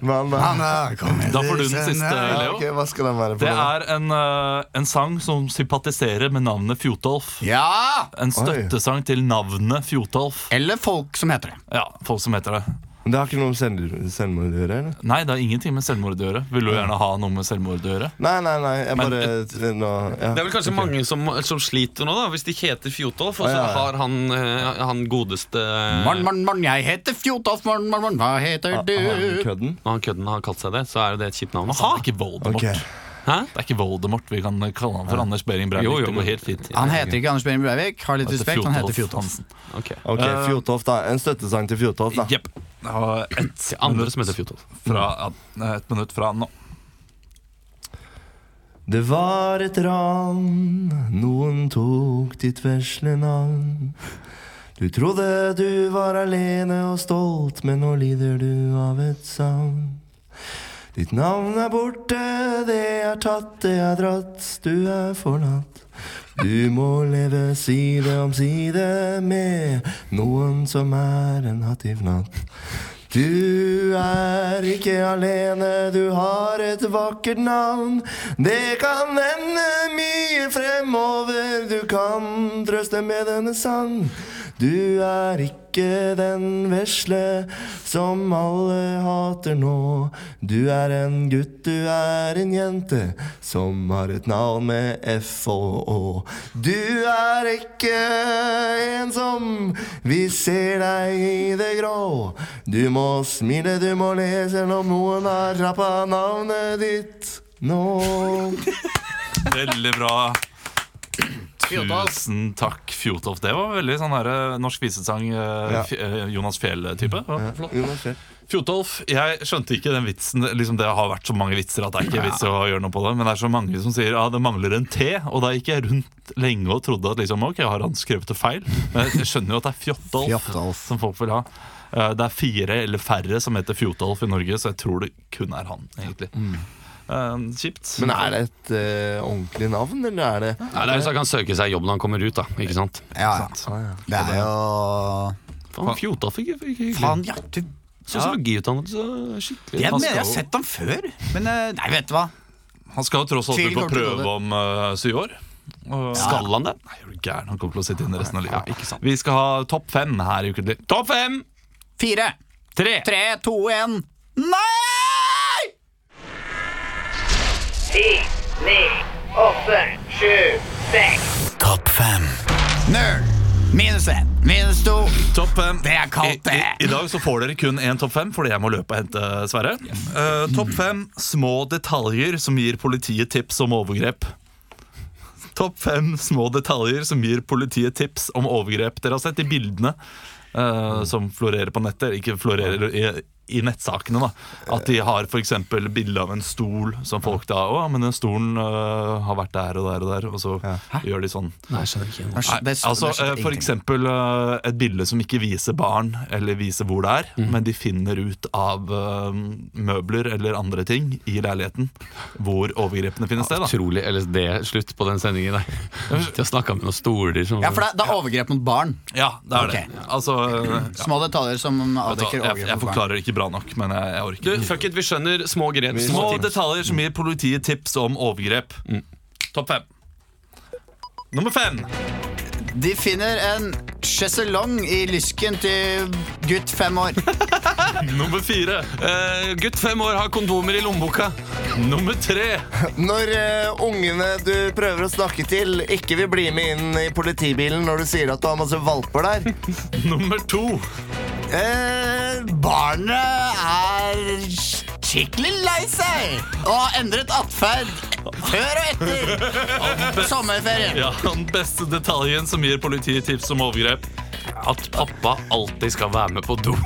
Speaker 1: Mandag. Da får du den siste, Leo.
Speaker 4: Ok, hva skal den være for
Speaker 1: Det
Speaker 4: noe?
Speaker 1: er en, eh, en sang som sympatiserer med navnet Fjotolf.
Speaker 8: Ja!
Speaker 1: En støttesang til navnet Fjotolf.
Speaker 8: Eller folk som heter det.
Speaker 1: Ja, folk som heter det.
Speaker 4: Men Det har ikke noe med selv- selvmord å gjøre? eller?
Speaker 1: Nei, det har ingenting med selvmord å gjøre. Vil du gjerne ha noe med selvmord å gjøre?
Speaker 4: Nei, nei, nei. Jeg
Speaker 1: Men-
Speaker 4: bare nå, ja.
Speaker 2: Det er vel kanskje mange som, som sliter nå, da hvis de ikke heter Fjotolf. Og så
Speaker 4: Ja, ja.
Speaker 2: har han, eh, han godeste
Speaker 8: Morn, morn, morn, jeg heter Fjotolf, morn, morn, morn, hva heter du?
Speaker 4: kødden?
Speaker 2: Når han kødden har kalt seg det, så er det et kjipt navn.
Speaker 1: Aha! Det er ikke Voldemort. Det er ikke Voldemort vi kan kalle han for. Anders Behring Breivik.
Speaker 2: Jo, jo,
Speaker 1: det går helt fint.
Speaker 8: Han heter ikke Anders Behring Breivik, har litt
Speaker 1: Han heter
Speaker 8: respekt, han heter
Speaker 1: Fjotolf
Speaker 8: Fjotolf.
Speaker 4: Ok,
Speaker 1: Eh,
Speaker 4: Fjotolf, da. En støttesang til Fjotolf, da.
Speaker 1: Jepp. Et
Speaker 2: andre som heter Fjotolf.
Speaker 1: Fra, ja, et minutt fra nå.
Speaker 4: Det var et ran, noen tok ditt vesle navn. Du trodde du var alene og stolt, men nå lider du av et savn. Ditt navn er borte, det er tatt, det er dratt, du er forlatt. Du må leve side om side med noen som er en hativ natt. Du er ikke alene, du har et vakkert navn. Det kan ende mye fremover, du kan trøste med denne sang. Du er ikke den vesle som alle hater nå. Du er en gutt, du er en jente som har et navn med F og Å. Du er ikke ensom, vi ser deg i det grå. Du må smile, du må le, selv om noen har rappa navnet ditt nå.
Speaker 1: Veldig bra.
Speaker 8: Fjotolf.
Speaker 1: Tusen takk, Fjotolf. Det var veldig sånn her, eh, norsk visesang, eh,
Speaker 8: Ja.
Speaker 1: Fj- eh, Jonas Fjell-type. Ja, flott.
Speaker 4: Jonas Fjell.
Speaker 1: Fjotolf, jeg skjønte ikke den vitsen. Liksom, det har vært så mange vitser at det er ikke vits å gjøre noe på det. Men det er så mange som sier at ah, det mangler en T. Og da gikk jeg rundt lenge og trodde at liksom, ok, har han skrevet det feil? Men jeg skjønner jo at det er Fjotolf, som folk vil ha. Eh, Det er fire eller færre som heter Fjotolf i Norge, så jeg tror det kun er han, egentlig. Eh, kjipt.
Speaker 4: Men er det et eh, ordentlig navn, eller er det
Speaker 10: Nei, det er hvis han kan søke seg jobb når han kommer ut, da. Ikke sant?
Speaker 3: Ja, Det er jo
Speaker 10: Faen, Fjota fikk hyggelig.
Speaker 3: Faen, ja, du
Speaker 10: Sosiologiutdannelse. Skikkelig.
Speaker 3: Jeg
Speaker 10: Han
Speaker 3: mener jeg
Speaker 10: skal
Speaker 3: har
Speaker 10: jo-
Speaker 3: sett ham før, men eh, nei, vet du hva.
Speaker 1: Han skal jo tross alt
Speaker 3: Tvil
Speaker 1: ut på
Speaker 3: kommer til å
Speaker 1: prøve
Speaker 3: gå
Speaker 1: om eh, syv år. Og-
Speaker 10: Skal han det?
Speaker 1: Nei, er du gæren? Han kommer til å sitte inne resten av livet. Vi skal ha topp fem her i Ukentlig. Topp fem!
Speaker 3: Fire,
Speaker 1: Tre!
Speaker 3: tre, to, én. Nei!
Speaker 5: Ti, ni, åtte, sju, seks.
Speaker 3: Topp fem. Null. Minus én. Minus to.
Speaker 1: Topp fem.
Speaker 3: Det er kaldt,
Speaker 1: I,
Speaker 3: det.
Speaker 1: i, I dag så får dere kun én topp fem, fordi jeg må løpe og hente Sverre. Eh, topp fem små detaljer som gir politiet tips om overgrep. Topp fem små detaljer som gir politiet tips om overgrep. Dere har sett de bildene eh, som florerer på nettet. Ikke florerer i, i nettsakene, da. At de har f.eks. bilde av en stol som folk da Å, men den stolen eh, har vært der og der og der. Og så gjør de sånn.
Speaker 14: Nei, jeg skjønner ikke.
Speaker 1: Nei, altså, eh, for eksempel eh, et bilde som ikke viser barn eller viser hvor det er, men de finner ut av eh, møbler eller andre ting i leiligheten hvor overgrepene finner sted. Da.
Speaker 10: Utrolig LSD slutt på den sendingen der. De har snakka med noen stoler som
Speaker 3: Ja, for det, det er overgrep mot barn.
Speaker 1: Ja, det er
Speaker 3: Ok.
Speaker 1: det. Altså, eh, ja.
Speaker 3: Små detaljer som
Speaker 1: Vet du
Speaker 3: avdekker
Speaker 1: hva, jeg,
Speaker 3: overgrep
Speaker 1: jeg
Speaker 3: mot barn.
Speaker 1: forklarer det ikke bra nok, men jeg, jeg orker.
Speaker 2: Du, fuck it, vi skjønner små grep.
Speaker 1: Små detaljer som gir politiet tips om overgrep. Topp fem. Nummer fem.
Speaker 3: De finner en sjeselong i lysken til gutt fem år.
Speaker 1: Nummer fire.
Speaker 2: Eh, gutt fem år har kondomer i lommeboka.
Speaker 1: Nummer tre.
Speaker 4: Når eh, ungene du prøver å snakke til, ikke vil bli med inn i politibilen når du sier at du har masse valper der?
Speaker 1: Nummer to.
Speaker 3: Eh, barnet er skikkelig lei seg og har endret atferd før og etter sommerferien.
Speaker 1: Ja, Den beste detaljen som gir politiet tips om overgrep.
Speaker 10: At pappa alltid skal være med på do.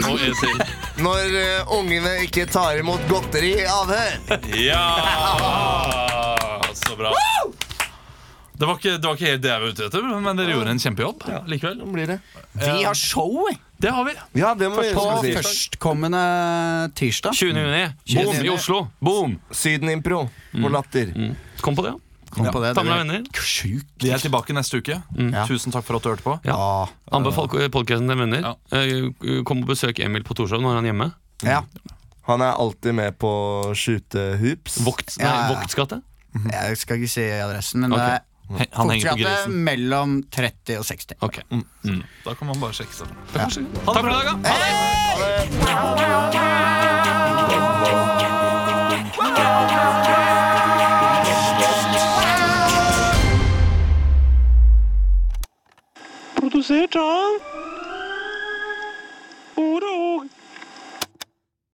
Speaker 1: Og en til.
Speaker 4: Når eh, ungene ikke tar imot godteri i avhør?
Speaker 1: Ja! Så bra. Det var, ikke, det var ikke helt det jeg var ute etter, men dere gjorde en kjempejobb. likevel
Speaker 4: Hvordan blir det?
Speaker 3: Vi har show eh.
Speaker 1: Det har vi.
Speaker 4: Ja, det må vi
Speaker 3: på
Speaker 4: huske å si.
Speaker 3: førstkommende tirsdag.
Speaker 10: 20. juni. Boom, i Oslo. Boom.
Speaker 4: Sydenimpro på Latter.
Speaker 10: Kom på det, ja.
Speaker 3: Kom på det.
Speaker 10: Ta med deg venner.
Speaker 3: Sjukt.
Speaker 1: Vi er tilbake neste uke. Tusen takk for at du hørte på.
Speaker 3: Ja.
Speaker 10: Anbefal podkasten til venner.
Speaker 1: Ja.
Speaker 10: Eh, Kom og besøk Emil på Torshov når han er hjemme.
Speaker 3: ja.
Speaker 4: Han er alltid med på å skyte hoops.
Speaker 10: Vokt, nei,
Speaker 3: Ja, ja, ja.
Speaker 10: Voktskatte.
Speaker 3: Jeg skal ikke si adressen, men
Speaker 10: Ok.
Speaker 1: He- Han
Speaker 3: det
Speaker 1: henger
Speaker 3: er
Speaker 1: på
Speaker 3: Koktegate
Speaker 1: grisen.
Speaker 3: mellom 30 og 60.
Speaker 10: Ok.
Speaker 1: Da kan man bare sjekke seg. Ja. Ha det bra. da.
Speaker 15: Produsert av Ord og